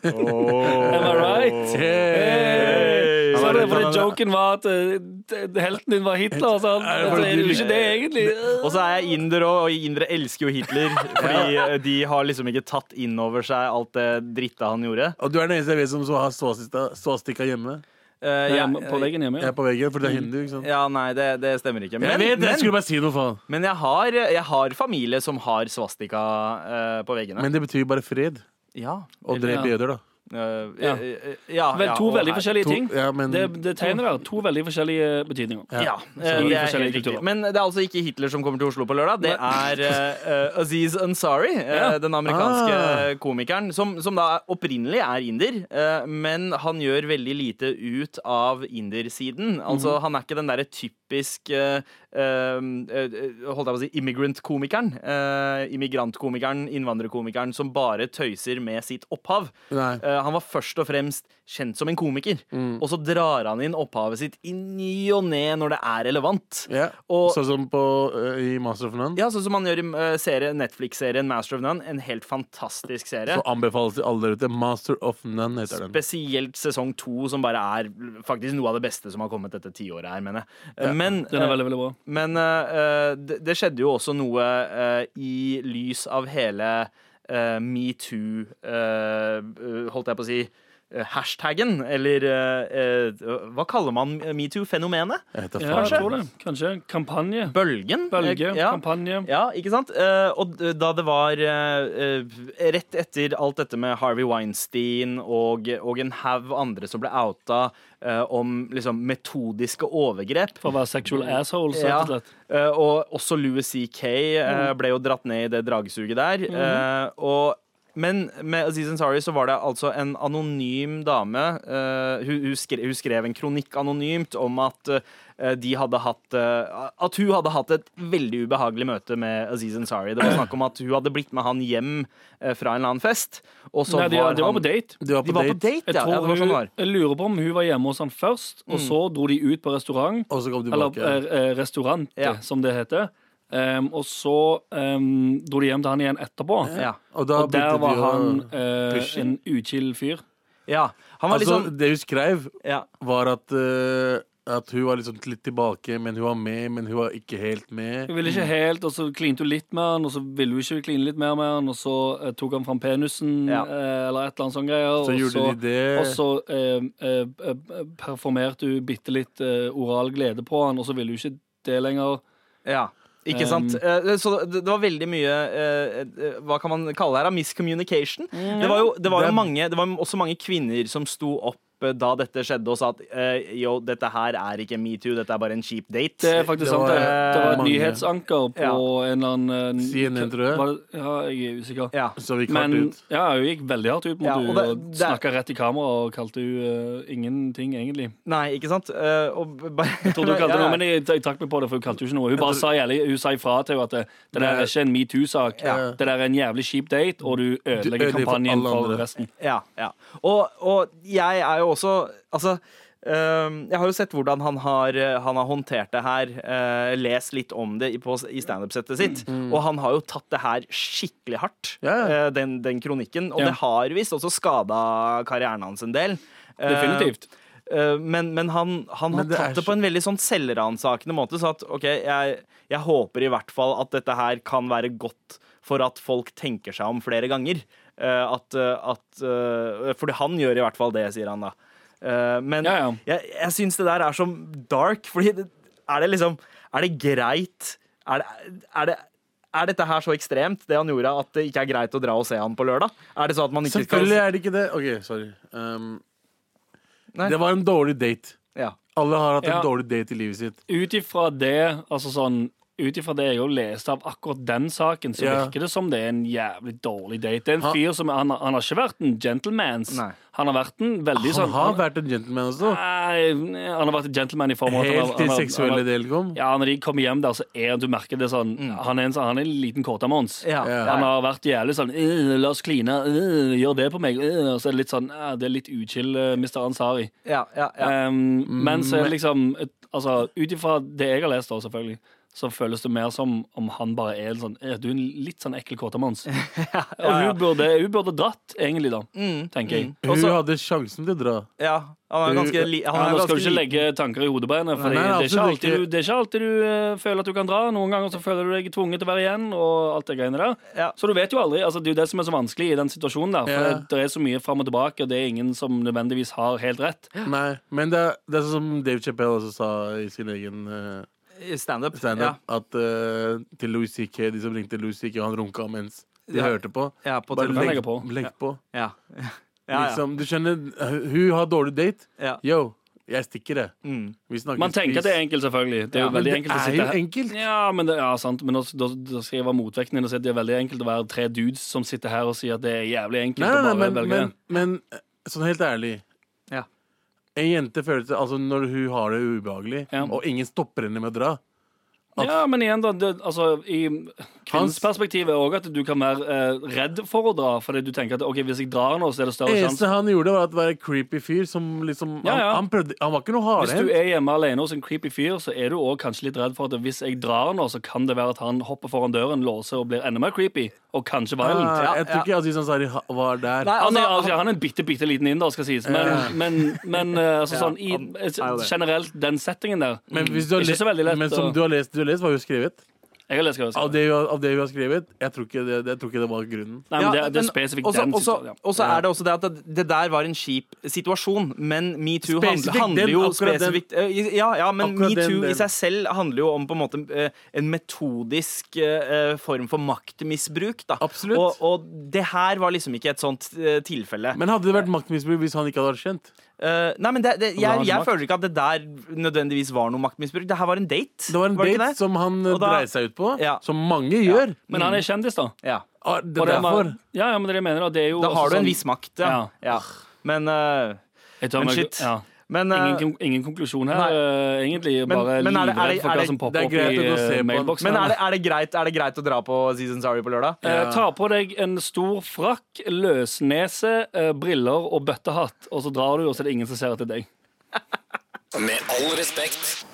Speaker 3: oh.
Speaker 6: Am I *laughs* right? Eh.
Speaker 3: Hey!
Speaker 6: Så det er
Speaker 5: Han
Speaker 6: fordi
Speaker 5: er-
Speaker 6: joken var at eh, d- d- helten din var Hitler, og sånn.
Speaker 5: Er det
Speaker 6: Altså,
Speaker 5: fordi
Speaker 6: er det
Speaker 5: du-
Speaker 6: jo ikke det, egentlig?
Speaker 3: Og så er jeg inder òg, og indere elsker jo Hitler. Fordi eh, de har liksom ikke tatt inn over seg alt det dritta han gjorde.
Speaker 5: Og du er den eneste jeg vet som så har svastika- svastika hjemme.
Speaker 3: Eh,
Speaker 6: Nei,
Speaker 3: jeg-
Speaker 6: jeg må- På veggen hjemme,
Speaker 5: Jeg
Speaker 6: ja.
Speaker 5: er på veggen, for det er hindu, ikke sant?
Speaker 3: ja, nei, det, det stemmer ikke. Men,
Speaker 5: jeg vet det! Jeg skulle
Speaker 3: men,
Speaker 5: bare si noe, faen.
Speaker 3: men jeg, har, jeg har familie som har svastika eh, på veggene.
Speaker 5: Men det betyr jo bare fred.
Speaker 3: ja.
Speaker 5: Og
Speaker 3: Eller-
Speaker 5: drep jøder, da.
Speaker 3: Eh,
Speaker 6: Ja.
Speaker 3: eh, ja,
Speaker 6: Vel,
Speaker 3: ja,
Speaker 6: to
Speaker 3: og
Speaker 6: veldig
Speaker 3: her.
Speaker 6: forskjellige ting.
Speaker 5: ja, men,
Speaker 6: Det, det tegner der to veldig forskjellige betydninger.
Speaker 3: Ja,
Speaker 6: Så
Speaker 3: eh,
Speaker 6: i
Speaker 3: det er
Speaker 6: forskjellige
Speaker 3: helt riktig.
Speaker 6: kulturer.
Speaker 3: Men det er altså ikke Hitler som kommer til Oslo på lørdag. Det er eh, eh, Aziz Ansari, eh,
Speaker 6: Ja.
Speaker 3: den amerikanske
Speaker 5: Ah.
Speaker 3: komikeren, som, som da opprinnelig er inder. eh, men han gjør veldig lite ut av indersiden. Altså,
Speaker 5: Mhm.
Speaker 3: Han er ikke den derre typisk eh, eh, eh, Holdt jeg på å si immigrant-komikeren. eh, immigrantkomikeren, innvandrerkomikeren som bare tøyser med sitt opphav.
Speaker 5: Nei.
Speaker 3: Eh,
Speaker 5: Mm.
Speaker 3: han var først og fremst kjent som en komiker. Og så drar han inn opphavet sitt i ny og ne når det er relevant.
Speaker 5: Ja.
Speaker 3: Og-
Speaker 5: sånn som på, eh, i Master of None.
Speaker 3: Ja, Sånn som han gjør i eh, serie- Netflix-serien Master of None. En helt fantastisk serie.
Speaker 5: Så anbefales til alle der ute. Master of None heter den.
Speaker 3: Spesielt sesong to, som bare er faktisk noe av det beste som har kommet dette tiåret her, mener jeg. Eh, Men,
Speaker 6: Den er veldig, veldig bra.
Speaker 3: men eh, eh, det, det skjedde jo også noe eh, i lys av hele eh, metoo eh, eh, Holdt jeg på å si eh, hashtaggen, eller eh, eh, Hva kaller man metoo-fenomenet?
Speaker 5: Jeg heter
Speaker 6: Ja, jeg
Speaker 5: faen.
Speaker 6: tror det. Kanskje. Kampanje.
Speaker 3: Bølgen?
Speaker 6: Bølge.
Speaker 3: Eh, ja.
Speaker 6: Kampanje.
Speaker 3: Ja, ikke sant? Eh, og d- da det var eh, eh, rett etter alt dette med Harvey Weinstein og, og en haug andre som ble outa eh, om liksom metodiske overgrep
Speaker 6: For å være sexual assholes, rett
Speaker 3: Mm. Ja.
Speaker 6: og slett.
Speaker 3: eh, og også Louis C.K. eh, ble jo dratt ned i det dragsuget der. eh, og, men med Aziz Ansari så var det altså en anonym dame eh, hun, hun, skrev, hun skrev en kronikk anonymt om at eh, de hadde hatt eh, At hun hadde hatt et veldig ubehagelig møte med Aziz Ansari. Det var snakk om at hun hadde blitt med han hjem eh, fra en eller annen fest. Og så
Speaker 6: Nei, de,
Speaker 3: var
Speaker 6: de var
Speaker 3: han-
Speaker 6: på date.
Speaker 5: Du var
Speaker 3: De
Speaker 5: på
Speaker 3: var på date,
Speaker 5: date,
Speaker 6: Jeg,
Speaker 3: ja. ja. Det
Speaker 6: tror
Speaker 3: var sånn det
Speaker 6: hun,
Speaker 3: var. Mm.
Speaker 6: jeg lurer på om hun var hjemme hos han først, og så dro de ut på restaurant.
Speaker 5: og så kom du
Speaker 6: Eller
Speaker 5: tilbake.
Speaker 6: eh, restaurant,
Speaker 3: Ja.
Speaker 6: som det heter. Em, og så em, dro de hjem til han igjen etterpå.
Speaker 3: Ja.
Speaker 5: Og da
Speaker 6: eh, Og der
Speaker 5: begynte
Speaker 6: var
Speaker 5: de å
Speaker 6: han eh,
Speaker 5: pushe.
Speaker 6: en uchill fyr.
Speaker 3: ja. Han var litt
Speaker 5: Altså,
Speaker 6: liksom-
Speaker 3: sånn
Speaker 5: det hun skrev,
Speaker 3: ja.
Speaker 5: var at, eh, at hun var liksom litt tilbake, men hun var med, men hun var ikke helt med.
Speaker 6: Hun ville ikke helt, og så klinte hun litt med han, og så ville hun ikke kline litt mer med han, og så eh, tok han fram penisen,
Speaker 3: Ja.
Speaker 6: eh, eller et eller annet sånt
Speaker 5: Så
Speaker 6: greier. og
Speaker 5: gjorde
Speaker 6: så,
Speaker 5: de det.
Speaker 6: Og så eh, eh, eh, performerte hun bitte litt eh, oral glede på han, og så ville hun ikke det lenger.
Speaker 3: Ja, ikke
Speaker 6: Um,
Speaker 3: sant? Eh, så det det var veldig mye eh, eh, Hva kan man kalle det her? da? Miscommunication. Det var jo, det var
Speaker 5: Det
Speaker 3: jo
Speaker 5: er-
Speaker 3: mange, det var også mange kvinner som sto opp eh, da dette skjedde, og sa at eh, jo, dette her er ikke metoo, dette er bare en cheap
Speaker 6: Det
Speaker 3: date.
Speaker 6: er faktisk
Speaker 5: Det
Speaker 6: sant.
Speaker 5: var, eh,
Speaker 6: Det, det var et
Speaker 5: mange.
Speaker 6: nyhetsanker på
Speaker 3: Ja.
Speaker 6: en eller annen eh,
Speaker 5: CNN, tror jeg.
Speaker 6: var det- Ja, jeg er usikker.
Speaker 3: Ja.
Speaker 5: Så vi kvart
Speaker 6: Men
Speaker 5: ut.
Speaker 6: ja, hun gikk veldig hardt ut mot
Speaker 3: Ja,
Speaker 6: henne
Speaker 3: og
Speaker 6: og,
Speaker 3: det- det-
Speaker 6: snakka rett i kamera og kalte hun eh, ingenting,
Speaker 5: *laughs*
Speaker 6: egentlig.
Speaker 3: Nei, ikke sant? Eh, og b- bare
Speaker 6: Jeg trodde hun kalte
Speaker 3: *laughs* Ja,
Speaker 6: noe, men jeg, jeg trakk meg på det, for hun kalte jo ikke noe. Hun bare sa, jævlig, hun sa ifra til henne at det, det der er ikke en metoo-sak.
Speaker 5: Ja.
Speaker 6: Det der er en jævlig kjip date, og du ødelegger
Speaker 5: ødelegger for
Speaker 6: kampanjen
Speaker 5: alle
Speaker 6: for
Speaker 5: andre.
Speaker 6: resten.
Speaker 3: Ja, ja. Og, og jeg er jo også Altså øhm, jeg har jo sett hvordan han har, øh, han har håndtert det her. øh, lest litt om det i, på- i standup-settet sitt. Og han har jo tatt det her skikkelig hardt,
Speaker 5: Mm, Ja, ja.
Speaker 3: øh, den, den kronikken. Og
Speaker 6: Ja.
Speaker 3: det har visst også skada karrieren hans en del. Eh,
Speaker 6: Definitivt.
Speaker 3: eh, men, men han, han har
Speaker 5: Men det er
Speaker 3: tatt det på
Speaker 5: så-
Speaker 3: en veldig sånn selvransakende måte. Så at OK, jeg, jeg håper i hvert fall at dette her kan være godt for at folk tenker seg om flere ganger. Eh, at, eh, at eh, Fordi han gjør i hvert fall det, sier han da. Eh, men
Speaker 6: Ja, ja.
Speaker 3: jeg, jeg syns det der er så dark, fordi det, er det liksom Er det greit? Er, det, er, det, er dette her så ekstremt, det han gjorde, at det ikke er greit å dra og se han på lørdag? Er det sånn at man ikke skal
Speaker 5: Selvfølgelig er det ikke det. OK, sorry. Um,
Speaker 3: Nei.
Speaker 5: det var en dårlig date.
Speaker 3: ja.
Speaker 5: Alle har hatt en
Speaker 6: Ja.
Speaker 5: dårlig date i livet sitt.
Speaker 6: Ut ifra det, altså sånn ut ifra det jeg har lest av akkurat den saken, så
Speaker 5: Ja.
Speaker 6: virker det som det er en jævlig dårlig date. Det er en
Speaker 5: Han-
Speaker 6: fyr som Han, han har ikke vært en gentleman.
Speaker 3: Nei.
Speaker 6: Han har vært en veldig
Speaker 5: Han
Speaker 6: sånn
Speaker 5: har vært en gentleman også.
Speaker 6: Nei, han har vært en gentleman i form av at han har-
Speaker 5: Helt til
Speaker 6: han har- han har-
Speaker 5: seksuelle del kom.
Speaker 6: Ja, når de kommer hjem der, så er han, du merker det sånn Han er en, sånn- han er en liten kåtamons.
Speaker 3: Mm. Ja.
Speaker 5: Ja.
Speaker 6: Han har vært jævlig sånn «Øh, La oss kline. øh, gjør det på meg. øh», og så er det litt sånn «Ah, Det er litt uchill, uh, Mr. Ansari.
Speaker 3: ja, ja, ja. Mm.
Speaker 6: Um, men så er det liksom et- altså, Ut ifra det jeg har lest, da, selvfølgelig, så føles det mer som om han bare er en sånn «Øh, Du er en litt sånn ekkel
Speaker 3: *laughs*
Speaker 6: kåtamons. Og hun burde, hun burde dratt, egentlig, da.
Speaker 3: Mm,
Speaker 6: Tenker jeg.
Speaker 5: Hun
Speaker 3: Også-
Speaker 5: hadde sjansen til å dra.
Speaker 3: Ja, han er ganske li han
Speaker 6: Ja,
Speaker 3: er
Speaker 6: nå skal
Speaker 3: ganske
Speaker 6: du ikke
Speaker 3: liten.
Speaker 6: legge tanker i hodet på henne. For
Speaker 5: Nei,
Speaker 6: det, er ikke
Speaker 5: absolutt
Speaker 6: alltid
Speaker 5: ikke.
Speaker 6: du, det er ikke alltid du eh, føler at du kan dra. Noen ganger så føler du deg tvunget til å være igjen. Og alt det greiene der
Speaker 3: Ja.
Speaker 6: Så du vet jo aldri. Altså, det er jo det som er så vanskelig i den situasjonen. der
Speaker 5: Ja.
Speaker 6: For det, det er så mye fram og tilbake, og det er ingen som nødvendigvis har helt rett.
Speaker 5: Nei, men det er, det er sånn som Dave Chappelle også sa i sin egen eh,
Speaker 3: Standup.
Speaker 5: standup, at eh, til Louis C.K., de som ringte Louis C.K., han runka mens de
Speaker 3: Ja.
Speaker 5: hørte på.
Speaker 3: Ja, på
Speaker 5: Bare
Speaker 3: telefonen.
Speaker 5: legg,
Speaker 6: legger på.
Speaker 5: legg på.
Speaker 3: Ja.
Speaker 5: *laughs*
Speaker 3: Ja, ja.
Speaker 5: Liksom, du skjønner, hun har dårlig date.
Speaker 3: Ja.
Speaker 5: Yo, jeg stikker det.
Speaker 3: Mm.
Speaker 5: Vi snakkes.
Speaker 6: Man tenker at det er enkelt, selvfølgelig. Det er jo
Speaker 3: Ja,
Speaker 5: Men
Speaker 6: veldig
Speaker 5: det
Speaker 6: enkelt å
Speaker 5: er
Speaker 6: sitte
Speaker 5: jo
Speaker 6: her.
Speaker 5: enkelt.
Speaker 6: Ja, men det, ja, sant Men da, da, da skal jeg være motvekten din og si at det er veldig enkelt å være tre dudes som sitter her og sier at det er jævlig enkelt.
Speaker 5: Nei,
Speaker 6: å
Speaker 5: nei,
Speaker 6: bare
Speaker 5: nei, men,
Speaker 6: velge.
Speaker 5: men, men eh, sånn helt ærlig
Speaker 3: Ja.
Speaker 5: En jente føler seg Altså, når hun har det ubehagelig,
Speaker 6: Ja.
Speaker 5: og ingen stopper henne med å dra at-
Speaker 6: Ja, men igjen, da. Det, altså, I kvinnens
Speaker 5: Hans-
Speaker 6: perspektiv er òg at du kan være eh, redd for å dra. Fordi du tenker at ok, hvis jeg drar nå, så er det større
Speaker 5: Det
Speaker 6: sjanse.
Speaker 5: eneste han gjorde, var å være creepy fyr som liksom
Speaker 6: Ja, ja.
Speaker 5: Han, han, prøvde, han var ikke noe
Speaker 6: Hvis du
Speaker 5: hardhendt.
Speaker 6: er hjemme alene hos en creepy fyr, så er du òg kanskje litt redd for at hvis jeg drar nå, så kan det være at han hopper foran døren, låser og blir enda mer creepy. og kanskje violent.
Speaker 5: Ah,
Speaker 3: Ja,
Speaker 5: jeg tror ikke Aziz Ansari ha- var der.
Speaker 3: Nei,
Speaker 6: Han er,
Speaker 3: altså,
Speaker 6: altså, han er en bitte, bitte liten inder, skal sies. Men, men, men eh, altså, sånn, i,
Speaker 3: han er jo det.
Speaker 6: generelt, den settingen der
Speaker 5: Men, hvis du har
Speaker 6: Ikke
Speaker 5: le-
Speaker 6: så veldig lett
Speaker 5: men
Speaker 6: å-
Speaker 5: som du har lest, du har lest, var jo skrevet.
Speaker 6: Jeg har lest hva
Speaker 5: Av
Speaker 6: jeg sa.
Speaker 5: det, hun har- av det hun har skrevet, jeg tror ikke det, jeg tror ikke det var grunnen.
Speaker 6: Nei, men det,
Speaker 3: ja,
Speaker 6: det er
Speaker 3: men
Speaker 6: spesifikt
Speaker 3: også-
Speaker 6: den
Speaker 3: også-
Speaker 6: situasjonen,
Speaker 3: Og så er det også det at det- det der var en kjip situasjon, men metoo handler,
Speaker 5: Spesifikt
Speaker 3: handler
Speaker 5: den,
Speaker 3: jo
Speaker 5: akkurat den.
Speaker 3: spesifikt eh, Ja, ja, men
Speaker 5: Akkurat den,
Speaker 3: metoo i
Speaker 5: den.
Speaker 3: seg selv handler jo om på en måte eh, en metodisk eh, form for maktmisbruk, da.
Speaker 5: Absolutt.
Speaker 3: Og, og det her var liksom ikke et sånt eh, tilfelle.
Speaker 5: Men hadde det vært maktmisbruk hvis han ikke hadde vært kjent?
Speaker 3: Eh, nei, men det, det, jeg,
Speaker 6: han
Speaker 3: jeg
Speaker 6: makt?
Speaker 3: føler ikke at det der nødvendigvis var noe maktmisbruk. Det her var en date.
Speaker 5: Det var en
Speaker 3: ikke
Speaker 5: date
Speaker 3: det?
Speaker 5: som han eh,
Speaker 3: Og da-
Speaker 5: dreide seg ut på,
Speaker 3: Ja.
Speaker 5: som mange gjør.
Speaker 6: ja. Men han er kjendis, da.
Speaker 3: Ja.
Speaker 5: Ah, det
Speaker 6: Og
Speaker 5: er
Speaker 6: det var-
Speaker 5: derfor.
Speaker 6: ja, ja, men det jeg mener, da, det er jo
Speaker 3: Da
Speaker 6: også
Speaker 3: har du en
Speaker 6: sånn-
Speaker 3: viss makt, ja.
Speaker 6: Ja.
Speaker 3: ja. Men, eh,
Speaker 6: Jeg tør
Speaker 3: Men
Speaker 6: meg-
Speaker 3: shit.
Speaker 6: Ja.
Speaker 3: men eh,
Speaker 6: Ingen, kon- ingen konklusjon her,
Speaker 3: Nei.
Speaker 6: eh, egentlig. Bare
Speaker 3: men er det- er
Speaker 6: livredd
Speaker 3: det-
Speaker 6: for
Speaker 3: er
Speaker 6: hva
Speaker 3: det-
Speaker 6: som
Speaker 5: det
Speaker 6: popper
Speaker 5: er
Speaker 6: opp i
Speaker 5: greit å gå og se
Speaker 6: eh,
Speaker 5: på.
Speaker 6: mailboksen.
Speaker 3: Men er det, er, det greit, er det greit å dra på Season Sorry på lørdag?
Speaker 6: Eh, ta på deg en stor frakk, løsnese, eh, briller og bøttehatt, og så drar du, og så er det ingen som ser etter deg.
Speaker 1: Med all respekt.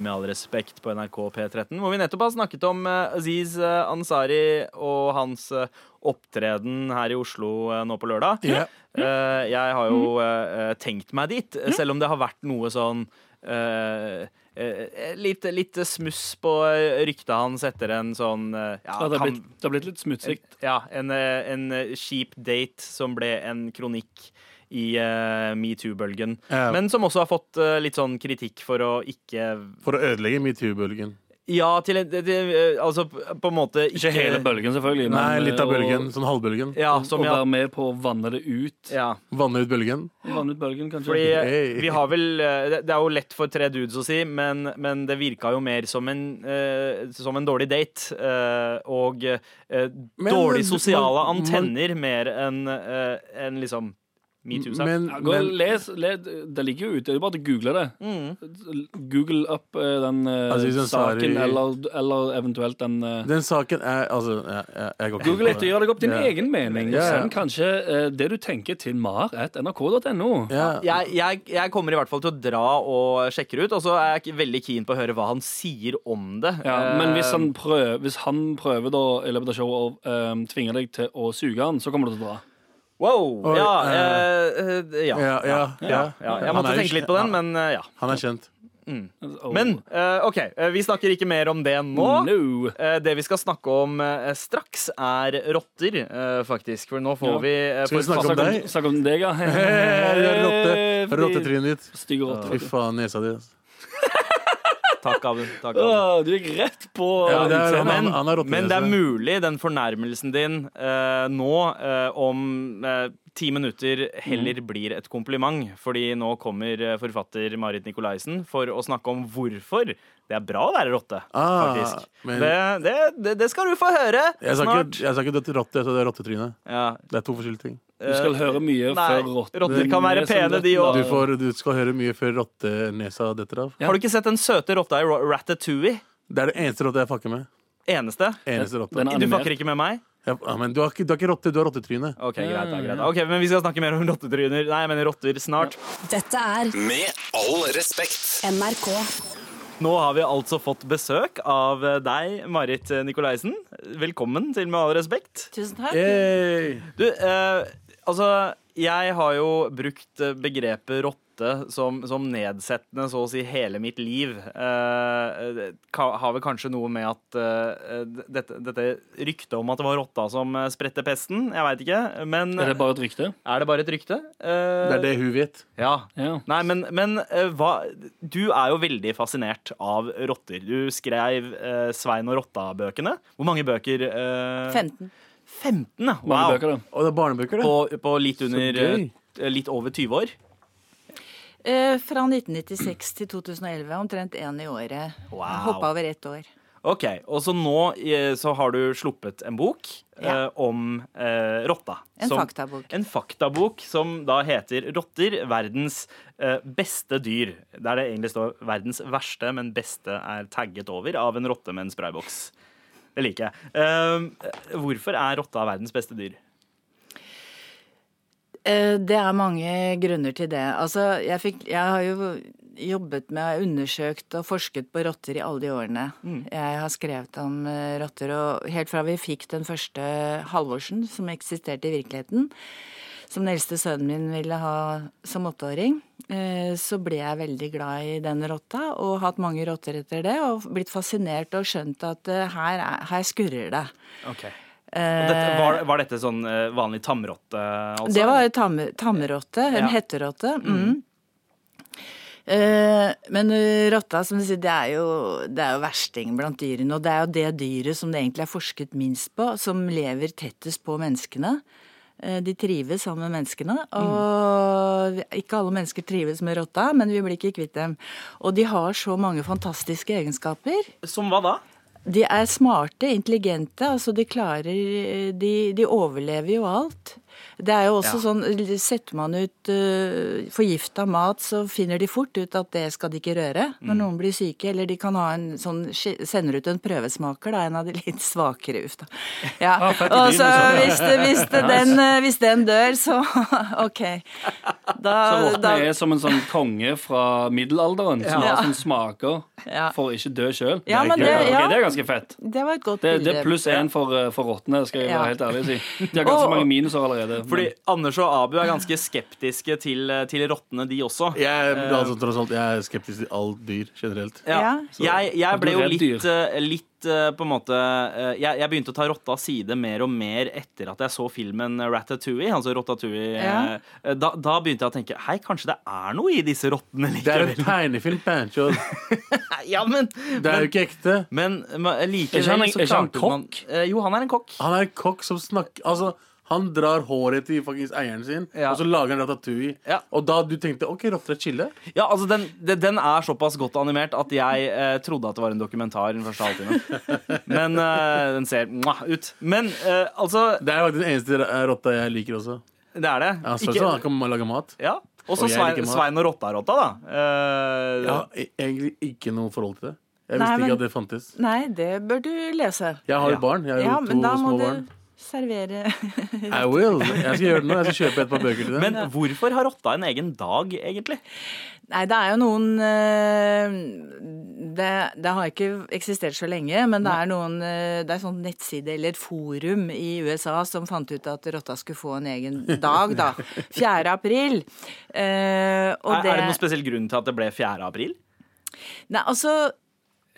Speaker 3: Med all respekt på NRK P13, hvor vi nettopp har snakket om eh, Aziz eh, Ansari og hans eh, opptreden her i Oslo eh, nå på lørdag.
Speaker 5: Ja.
Speaker 3: Eh, jeg har jo eh, eh, tenkt meg dit, eh, selv om det har vært noe sånn eh, eh, litt, litt smuss på eh, ryktet hans etter en sånn eh, ja,
Speaker 6: Ja, det, har
Speaker 3: kan-
Speaker 6: blitt, det har blitt litt smutsig.
Speaker 3: Ja, en, eh, en eh, kjip date som ble en kronikk i eh, metoo-bølgen.
Speaker 5: Ja.
Speaker 3: Men som også har fått eh, litt sånn kritikk for å ikke
Speaker 5: For å ødelegge metoo-bølgen.
Speaker 3: Ja, til en til, eh, Altså på en måte
Speaker 6: Ikke hele bølgen, selvfølgelig.
Speaker 5: Nei,
Speaker 6: men,
Speaker 5: litt av
Speaker 6: eh,
Speaker 5: bølgen. Sånn halvbølgen.
Speaker 3: Ja,
Speaker 6: Og,
Speaker 3: som
Speaker 6: og
Speaker 3: ja,
Speaker 6: være med på å vanne det ut.
Speaker 3: ja.
Speaker 5: Vanne ut bølgen.
Speaker 6: Vanne ut bølgen, kanskje.
Speaker 3: Fordi
Speaker 5: Hey.
Speaker 3: vi har vel eh, Det det er jo lett for tre dudes å si, men, men det virka jo mer som en, eh, som en dårlig date. eh, og eh,
Speaker 5: Men-
Speaker 3: dårlig
Speaker 5: men-
Speaker 3: sosiale
Speaker 5: man- man-
Speaker 3: antenner mer enn eh, enn liksom metoo-sak.
Speaker 5: Men,
Speaker 6: ja, gå og
Speaker 5: men
Speaker 6: les, le- Det ligger jo ute. Det er jo bare å google det.
Speaker 5: Mm.
Speaker 6: Google opp eh, den eh,
Speaker 5: Aziz Ansari.
Speaker 6: saken, eller, eller eventuelt den eh,
Speaker 5: den saken er Altså, jeg, jeg, jeg går ikke
Speaker 6: Google
Speaker 5: inn på
Speaker 6: etter, gjør deg opp din
Speaker 5: Ja.
Speaker 6: egen mening.
Speaker 5: Ja, ja.
Speaker 6: Send kanskje eh, det du tenker til mar.nrk.no.
Speaker 5: Ja.
Speaker 3: Jeg, jeg, jeg kommer i hvert fall til å dra og sjekke det ut, og så er jeg ikke veldig keen på å høre hva han sier om det.
Speaker 6: Ja, men hvis
Speaker 3: Eh,
Speaker 6: han, prøver, hvis han prøver da i løpet av showet å eh, tvinge deg til å suge han, så kommer du til å dra.
Speaker 3: Wow!
Speaker 5: Oi,
Speaker 3: ja,
Speaker 5: eh,
Speaker 3: eh, eh, ja.
Speaker 5: Ja, ja, ja.
Speaker 3: Ja, jeg
Speaker 5: Han er
Speaker 3: måtte
Speaker 5: jo
Speaker 3: tenke litt på
Speaker 5: kjent.
Speaker 3: den, men eh, ja.
Speaker 5: Han er kjent.
Speaker 6: Og-
Speaker 3: Men eh, OK, eh, vi snakker ikke mer om det nå.
Speaker 6: No.
Speaker 3: Eh, Det vi skal snakke om eh, straks, er rotter, eh, faktisk. For nå får
Speaker 6: Ja.
Speaker 3: vi eh,
Speaker 5: Skal vi
Speaker 3: får-
Speaker 5: snakke om
Speaker 6: Snakk om,
Speaker 5: deg?
Speaker 6: snakk om
Speaker 5: *laughs*
Speaker 6: deg, ja.
Speaker 5: Rotte-
Speaker 6: Fordi-
Speaker 5: Rottetrynet ditt.
Speaker 6: Stygge rotte.
Speaker 5: Fy faen, nesa di. ass.
Speaker 3: Takk, Abel. Takk, Abel.
Speaker 6: Å, du gikk rett på
Speaker 5: Ja, det er- han-
Speaker 3: Men,
Speaker 5: han har rottenese.
Speaker 3: men det er mulig, den fornærmelsen din eh, nå, eh, om eh, ti minutter,
Speaker 5: Mm.
Speaker 3: heller blir et kompliment. Fordi nå kommer eh, forfatter Marit Nikolaisen for å snakke om hvorfor det er bra å være rotte.
Speaker 5: Ah,
Speaker 3: faktisk.
Speaker 5: men-
Speaker 3: Det, det, det, det skal du få høre
Speaker 5: Jeg sa
Speaker 3: snart.
Speaker 5: ikke, jeg sa ikke dødt rotte, jeg sa det er rottetryne.
Speaker 3: Ja.
Speaker 5: Det er to forskjellige ting.
Speaker 6: Du skal høre mye
Speaker 3: Eh, Nei,
Speaker 6: før rotter.
Speaker 3: rotter kan være pene, de også.
Speaker 5: Du, får, du skal høre mye før rottenesa detter av.
Speaker 6: Ja.
Speaker 3: Har du ikke sett den søte rotta i Ra- Ratatouille?
Speaker 5: Det er det eneste rotta jeg fucker med.
Speaker 3: Eneste?
Speaker 5: Eneste rotte.
Speaker 6: Den er
Speaker 3: Du
Speaker 6: animert.
Speaker 3: fucker ikke med meg?
Speaker 5: Jeg, ja, men du har ikke, du har ikke rotte, du har rottetryne.
Speaker 3: Ok, greit, da, greit da. Ok, Men vi skal snakke mer om rottetryner. Nei, jeg mener rotter snart.
Speaker 2: Dette er
Speaker 1: Med all respekt.
Speaker 2: NRK.
Speaker 3: Nå har vi altså fått besøk av eh, deg, Marit Nikolaisen. Velkommen til Med all respekt.
Speaker 4: Tusen takk.
Speaker 5: Yay!
Speaker 3: Du, eh, altså Jeg har jo brukt eh, begrepet rotte som, som nedsettende så å si hele mitt liv. Eh, det ka- har vel kanskje noe med at eh, dette, dette ryktet om at det var rotta som eh, spredte pesten, jeg veit ikke. Men
Speaker 6: Er det bare et rykte?
Speaker 3: er det bare et rykte? Eh,
Speaker 5: Det er det hun vet.
Speaker 3: Ja.
Speaker 6: Ja.
Speaker 3: Nei, men, men eh, hva, du er jo veldig fascinert av rotter. Du skrev eh, Svein og rotta-bøkene. Hvor mange bøker? Eh,
Speaker 4: 15.
Speaker 3: 15, ja.
Speaker 6: Mange
Speaker 3: Wow.
Speaker 6: bøker, da.
Speaker 5: Og det er barnebøker, det.
Speaker 3: På, på litt under eh,
Speaker 5: gøy.
Speaker 3: Litt over 20 år.
Speaker 4: Eh, fra 1996 til 2011. Omtrent én i året.
Speaker 3: Wow.
Speaker 4: Hoppa over ett år.
Speaker 3: Ok, Og så nå eh, så har du sluppet en bok
Speaker 4: Ja.
Speaker 3: eh, om eh, rotta.
Speaker 4: En
Speaker 3: som-
Speaker 4: faktabok.
Speaker 3: En faktabok som da heter 'Rotter verdens eh, beste dyr'. Der det egentlig står 'verdens verste', men 'beste' er tagget over av en rotte med en sprayboks. Det liker jeg. Eh, hvorfor er rotta verdens beste dyr?
Speaker 4: Eh, det er mange grunner til det. Altså, jeg fikk Jeg har jo jobbet med, undersøkt og forsket på rotter i alle de årene. Jeg har skrevet om eh, rotter, og helt fra vi fikk den første Halvorsen, som eksisterte i virkeligheten, som den eldste sønnen min ville ha som åtteåring, eh, så ble jeg veldig glad i den rotta, og hatt mange rotter etter det, og blitt fascinert og skjønt at eh, her, er, her skurrer det.
Speaker 3: Og Dette, var, var dette sånn eh, vanlig tamrotte, altså?
Speaker 4: Det var jo tamme- tammerotte,
Speaker 3: Ja.
Speaker 4: en hetterotte. Mm. Eh, Men eh, rotta, som du sier, det er, jo, det er jo versting blant dyrene. Og det er jo det dyret som det egentlig er forsket minst på, som lever tettest på menneskene. Eh, De trives sammen med menneskene. Og ikke alle mennesker trives med rotta, men vi blir ikke kvitt dem. Og de har så mange fantastiske egenskaper.
Speaker 3: Som hva da?
Speaker 4: De er smarte, intelligente, altså de klarer eh, De, de overlever jo alt. Det er jo også sånn Setter man ut uh, forgifta mat, så finner de fort ut at det skal de ikke røre
Speaker 6: Mm.
Speaker 4: når noen blir syke. Eller de kan ha en sånn sk- Sender ut en prøvesmaker, da. En av de litt svakere, uff da. Ja. Og så hvis,
Speaker 6: sånn,
Speaker 4: det, hvis, det, den, eh, hvis den dør, så *laughs* OK. Da,
Speaker 6: Så rottene
Speaker 4: da
Speaker 6: er som en sånn konge fra middelalderen som
Speaker 4: Ja.
Speaker 6: har sånn smaker
Speaker 4: Ja.
Speaker 6: for å ikke dø sjøl.
Speaker 4: Ja, men det- ja.
Speaker 6: det er ganske fett.
Speaker 4: Det var et godt
Speaker 6: Det,
Speaker 4: bilde.
Speaker 6: det er pluss én for, eh, for rottene, skal jeg
Speaker 4: Ja.
Speaker 6: være helt ærlig og si. De har ganske
Speaker 4: Og-
Speaker 6: mange minusår allerede.
Speaker 3: Fordi Anders og Abu er ganske skeptiske til, eh, til rottene, de også.
Speaker 5: Jeg, er- altså, tross alt, jeg er skeptisk til alt dyr generelt.
Speaker 3: Ja.
Speaker 4: Ja.
Speaker 3: Jeg, jeg ble
Speaker 6: Du er
Speaker 3: jo
Speaker 6: redd
Speaker 3: litt, eh, litt eh, på en måte eh, jeg, jeg begynte å ta rottas side mer og mer etter at jeg så filmen Ratatouille. Altså Rotatouille. eh, Da, da begynte jeg å tenke hei, kanskje det er noe i disse rottene
Speaker 5: Det er en
Speaker 3: likevel.
Speaker 5: tegnefilm, Pancho. Det
Speaker 3: *laughs* Ja, men,
Speaker 5: er jo ikke ekte.
Speaker 3: men men eh, likevel
Speaker 6: Er ikke han en-
Speaker 3: så
Speaker 6: er ikke han
Speaker 3: klarte man- Eh, Jo, han er en kokk.
Speaker 5: Han er en kokk som snakker Altså, han drar håret til fuckings eieren sin,
Speaker 3: Ja.
Speaker 5: og så lager han ratatouille.
Speaker 3: Ja.
Speaker 5: Og da du tenkte OK, rotter er chille?
Speaker 3: Ja, altså den, den- den er såpass godt animert at jeg eh, trodde at det var en dokumentar den første *laughs* halvtimen. Men eh, den ser mwah, ut. Men eh, altså,
Speaker 5: Det er faktisk den eneste ra- rotta jeg liker også.
Speaker 3: det er det.
Speaker 5: Ja, så,
Speaker 3: Ikke-
Speaker 5: så han kan lage mat.
Speaker 3: ja. Og så
Speaker 5: Og jeg liker
Speaker 3: Svein,
Speaker 5: mat.
Speaker 3: Svein og Rotta-Rotta, da. Eh,
Speaker 5: Jeg har e- egentlig ikke noe forhold til det. Jeg
Speaker 4: Nei,
Speaker 5: visste
Speaker 4: men-
Speaker 5: ikke at det fantes.
Speaker 4: Nei, det bør du lese.
Speaker 5: Jeg har jo
Speaker 3: Ja.
Speaker 5: barn. Jeg har jo
Speaker 4: Ja,
Speaker 5: to
Speaker 4: men da må
Speaker 5: små
Speaker 4: du
Speaker 5: barn.
Speaker 4: servere *laughs*
Speaker 5: I will. Jeg skal gjøre det nå. Jeg skal kjøpe et par bøker til dem.
Speaker 3: Men hvorfor har rotta en egen dag, egentlig?
Speaker 4: Nei, det er jo noen eh, det, det har ikke eksistert så lenge, men det er noen eh, Det er sånn nettside eller et forum i USA som fant ut at rotta skulle få en egen
Speaker 5: *laughs*
Speaker 4: dag, da. 4. april. Eh, og
Speaker 3: Er, er det noen spesiell grunn til at det ble 4. april?
Speaker 4: Nei, altså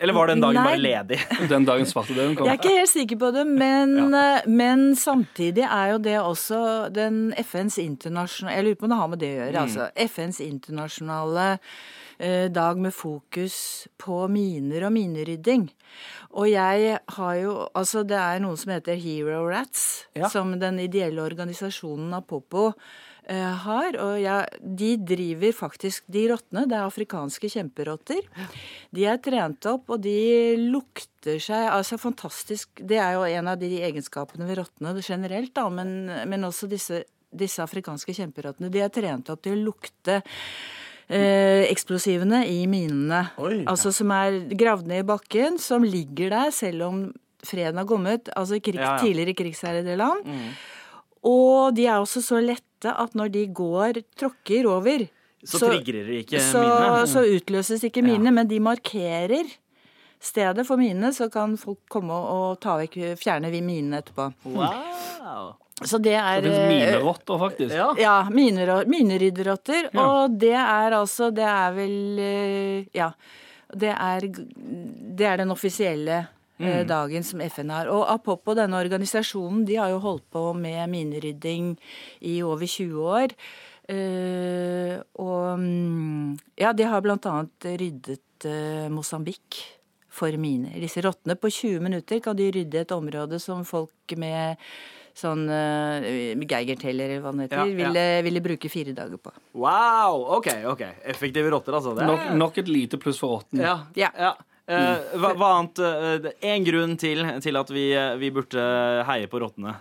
Speaker 3: Eller var den dagen
Speaker 4: Nei.
Speaker 3: bare ledig?
Speaker 4: *laughs*
Speaker 6: Den dagen svartedauden kom.
Speaker 4: Jeg er ikke helt sikker på det, men, eh, men samtidig er jo det også den FNs internasjonale Jeg lurer på om det har med det å gjøre, altså. FNs internasjonale eh, dag med fokus på miner og minerydding. Og jeg har jo Altså, det er noe som heter Hero Rats,
Speaker 3: Ja.
Speaker 4: som den ideelle organisasjonen Apopo eh, har, og jeg, De driver faktisk De rottene, det er afrikanske kjemperotter. De er trent opp, og de lukter seg altså fantastisk Det er jo en av de egenskapene ved rottene generelt, da, men, men også disse, disse afrikanske kjemperottene. De er trent opp til å lukte eh, eksplosivene i minene.
Speaker 5: Oi.
Speaker 4: altså Som er gravd ned i bakken, som ligger der selv om freden har kommet. Altså i krig,
Speaker 3: Ja, Mm. ja.
Speaker 4: tidligere krigsherjede land. Og de er også så lette at når de går, tråkker over
Speaker 3: Så trigger det ikke
Speaker 4: så,
Speaker 3: minnet.
Speaker 4: så utløses ikke minene, men de markerer stedet for minene, så kan folk komme og ta vekk, fjerne vi minene etterpå.
Speaker 3: Wow.
Speaker 4: Så det er eh,
Speaker 6: Det finnes minerotter, faktisk.
Speaker 3: Ja.
Speaker 4: Ja, miner- minerydderrotter.
Speaker 6: Ja.
Speaker 4: Og det er altså Det er vel eh, Ja. Det er, g- det er den offisielle eh, dagen som FN har. Og Apopo, denne organisasjonen, de har jo holdt på med minerydding i over 20 år. Eh, og mm, ja, de har blant annet ryddet eh, Mosambik for miner. Disse rottene. På 20 minutter kan de rydde et område som folk med sånn eh, geigerteller eller hva det heter,
Speaker 3: Ja, ja.
Speaker 4: ville, ville bruke fire dager på.
Speaker 3: wow! OK, ok. Effektive rotter, altså. Det er-
Speaker 6: Nok, nok et lite pluss for rotten.
Speaker 3: Ja.
Speaker 4: Ja.
Speaker 3: ja. Eh, hva, hva annet eh, det- En grunn til, til at vi, eh, vi burde heie på rottene.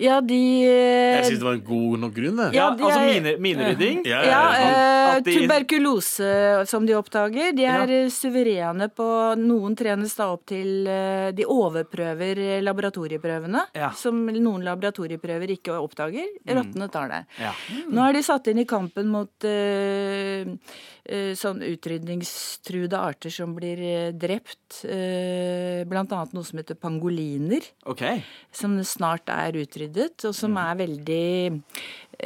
Speaker 4: Ja, de eh,
Speaker 5: Jeg syns det var en god nok grunn, det.
Speaker 4: Ja,
Speaker 3: Ja,
Speaker 4: de
Speaker 3: altså
Speaker 4: er-
Speaker 3: mine, minerydding.
Speaker 5: Ja,
Speaker 4: ja, eh,
Speaker 3: at de-
Speaker 4: Tuberkulose som de oppdager. De er
Speaker 3: Ja.
Speaker 4: eh, suverene på Noen trenes da opp til eh, De overprøver eh, laboratorieprøvene,
Speaker 3: Ja. Mm.
Speaker 4: som noen laboratorieprøver ikke oppdager. Rottene tar det.
Speaker 3: Ja.
Speaker 4: Nå er de satt inn i kampen mot eh, eh, sånn utrydningstruede arter som blir eh, drept. eh, blant annet noe som heter pangoliner,
Speaker 3: OK.
Speaker 4: som snart er utryddet, og som er veldig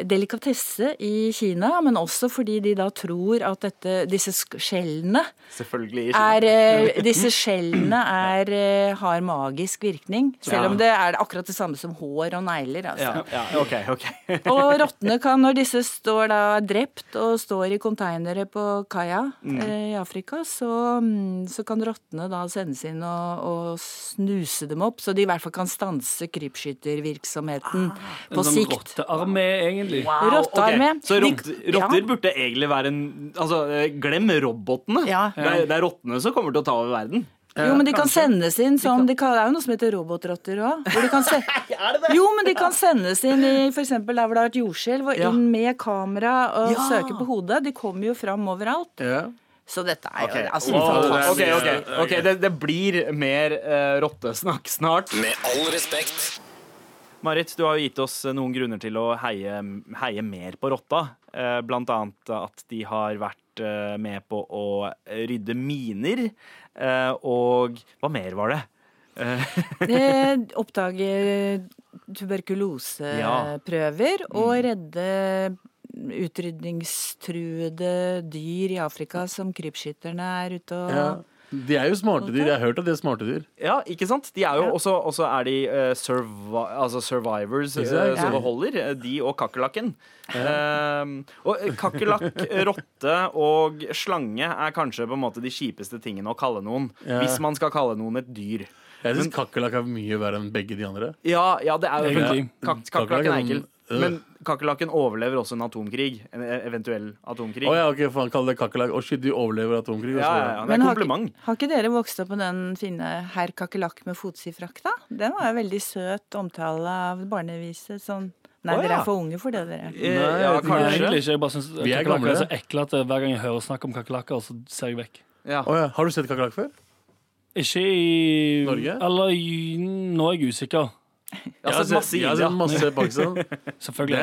Speaker 4: delikatesse i Kina. Men også fordi de da tror at dette, disse sk- skjellene
Speaker 3: Selvfølgelig.
Speaker 4: er, eh, disse skjellene er, eh, har magisk virkning. Selv om det er akkurat det samme som hår og negler. Altså.
Speaker 3: ja, ja, OK. ok.
Speaker 4: Og rottene kan, når disse står da drept og står i konteinere på kaia eh, i Afrika, så, mm, så kan rottene da sendes inn og, og snuse dem opp, så de i hvert fall kan stanse krypskyttervirksomheten på
Speaker 6: En sånn
Speaker 4: sikt.
Speaker 6: rottearmé, egentlig.
Speaker 3: Au, Ah, ok.
Speaker 4: Rottearmé.
Speaker 3: Så
Speaker 4: De-
Speaker 3: rott, rotter burde egentlig være en Altså, eh, glem robotene.
Speaker 4: Ja.
Speaker 3: Det, er, det er rottene som kommer til å ta over verden.
Speaker 4: Jo, men de kan sendes inn som de kan, Det er jo noe som heter robotrotter òg. Jo, men de kan sendes inn i f.eks. der hvor det har vært jordskjelv, og
Speaker 3: Ja.
Speaker 4: inn med kamera og søke på hodet. De kommer jo fram overalt.
Speaker 5: Ja.
Speaker 4: Så dette er jo altså,
Speaker 3: Wow.
Speaker 4: fantastisk.
Speaker 3: Ok, ok, ok, det, det blir mer eh, rottesnakk snart.
Speaker 1: Med all respekt.
Speaker 3: Marit, du har jo gitt oss eh, noen grunner til å heie, heie mer på rotta. Eh, Blant annet at de har vært eh, med på å rydde miner. Eh, Og hva mer var det?
Speaker 4: Eh, Oppdage tuberkuloseprøver og redde utrydningstruede dyr i Afrika som krypskytterne er ute og
Speaker 5: Ja. De er jo smarte dyr. Jeg har hørt at de er smarte dyr.
Speaker 3: Ja, ikke sant? De er jo også, også er de eh, survi altså survivors eh,
Speaker 5: sant?
Speaker 3: som det holder. eh, De og kakerlakken. Ehm, og eh, kakerlakk,
Speaker 5: *laughs*
Speaker 3: rotte og slange er kanskje på en måte de kjipeste tingene å kalle noen.
Speaker 5: Ja.
Speaker 3: Hvis man skal kalle noen et dyr.
Speaker 5: Jeg syns kakerlakk er mye verre enn begge de andre.
Speaker 3: Ja, ja det er jo
Speaker 6: Egentlig.
Speaker 3: kak Kakerlakken er ekkel.
Speaker 5: Øh.
Speaker 3: Men kakerlakken overlever også en atomkrig. En e-, eventuell atomkrig.
Speaker 5: Å ja, ok, faen, kall det kakerlakk. Å shit, de overlever atomkrig. og
Speaker 3: Ja,
Speaker 5: så-
Speaker 3: ja, ja, det
Speaker 4: Men
Speaker 3: er
Speaker 4: har
Speaker 3: kompliment.
Speaker 4: ikke, har ikke dere vokst opp med den fine herr kakerlakk med fotsifrakk, da? Den var jo veldig søt omtale av barnevise. Sånn Nei,
Speaker 3: Å,
Speaker 4: dere
Speaker 3: ja.
Speaker 4: er for unge for det, dere.
Speaker 3: Eh,
Speaker 5: Nei,
Speaker 3: ja,
Speaker 5: jeg vet ikke.
Speaker 6: Nei,
Speaker 3: kanskje.
Speaker 6: egentlig ikke. Jeg bare synes
Speaker 5: Vi er
Speaker 6: kakerlakker er så
Speaker 5: gamle.
Speaker 6: ekle at eh, hver gang jeg hører snakk om kakerlakker, så ser jeg vekk.
Speaker 3: Ja.
Speaker 5: Å ja. Har du sett kakerlakk før?
Speaker 6: Ikke i
Speaker 5: Norge?
Speaker 6: Eller i- nå er jeg usikker.
Speaker 3: Jeg har sett masse i
Speaker 5: jeg har
Speaker 3: India.
Speaker 5: sett masse i Pakistan.
Speaker 6: Selvfølgelig.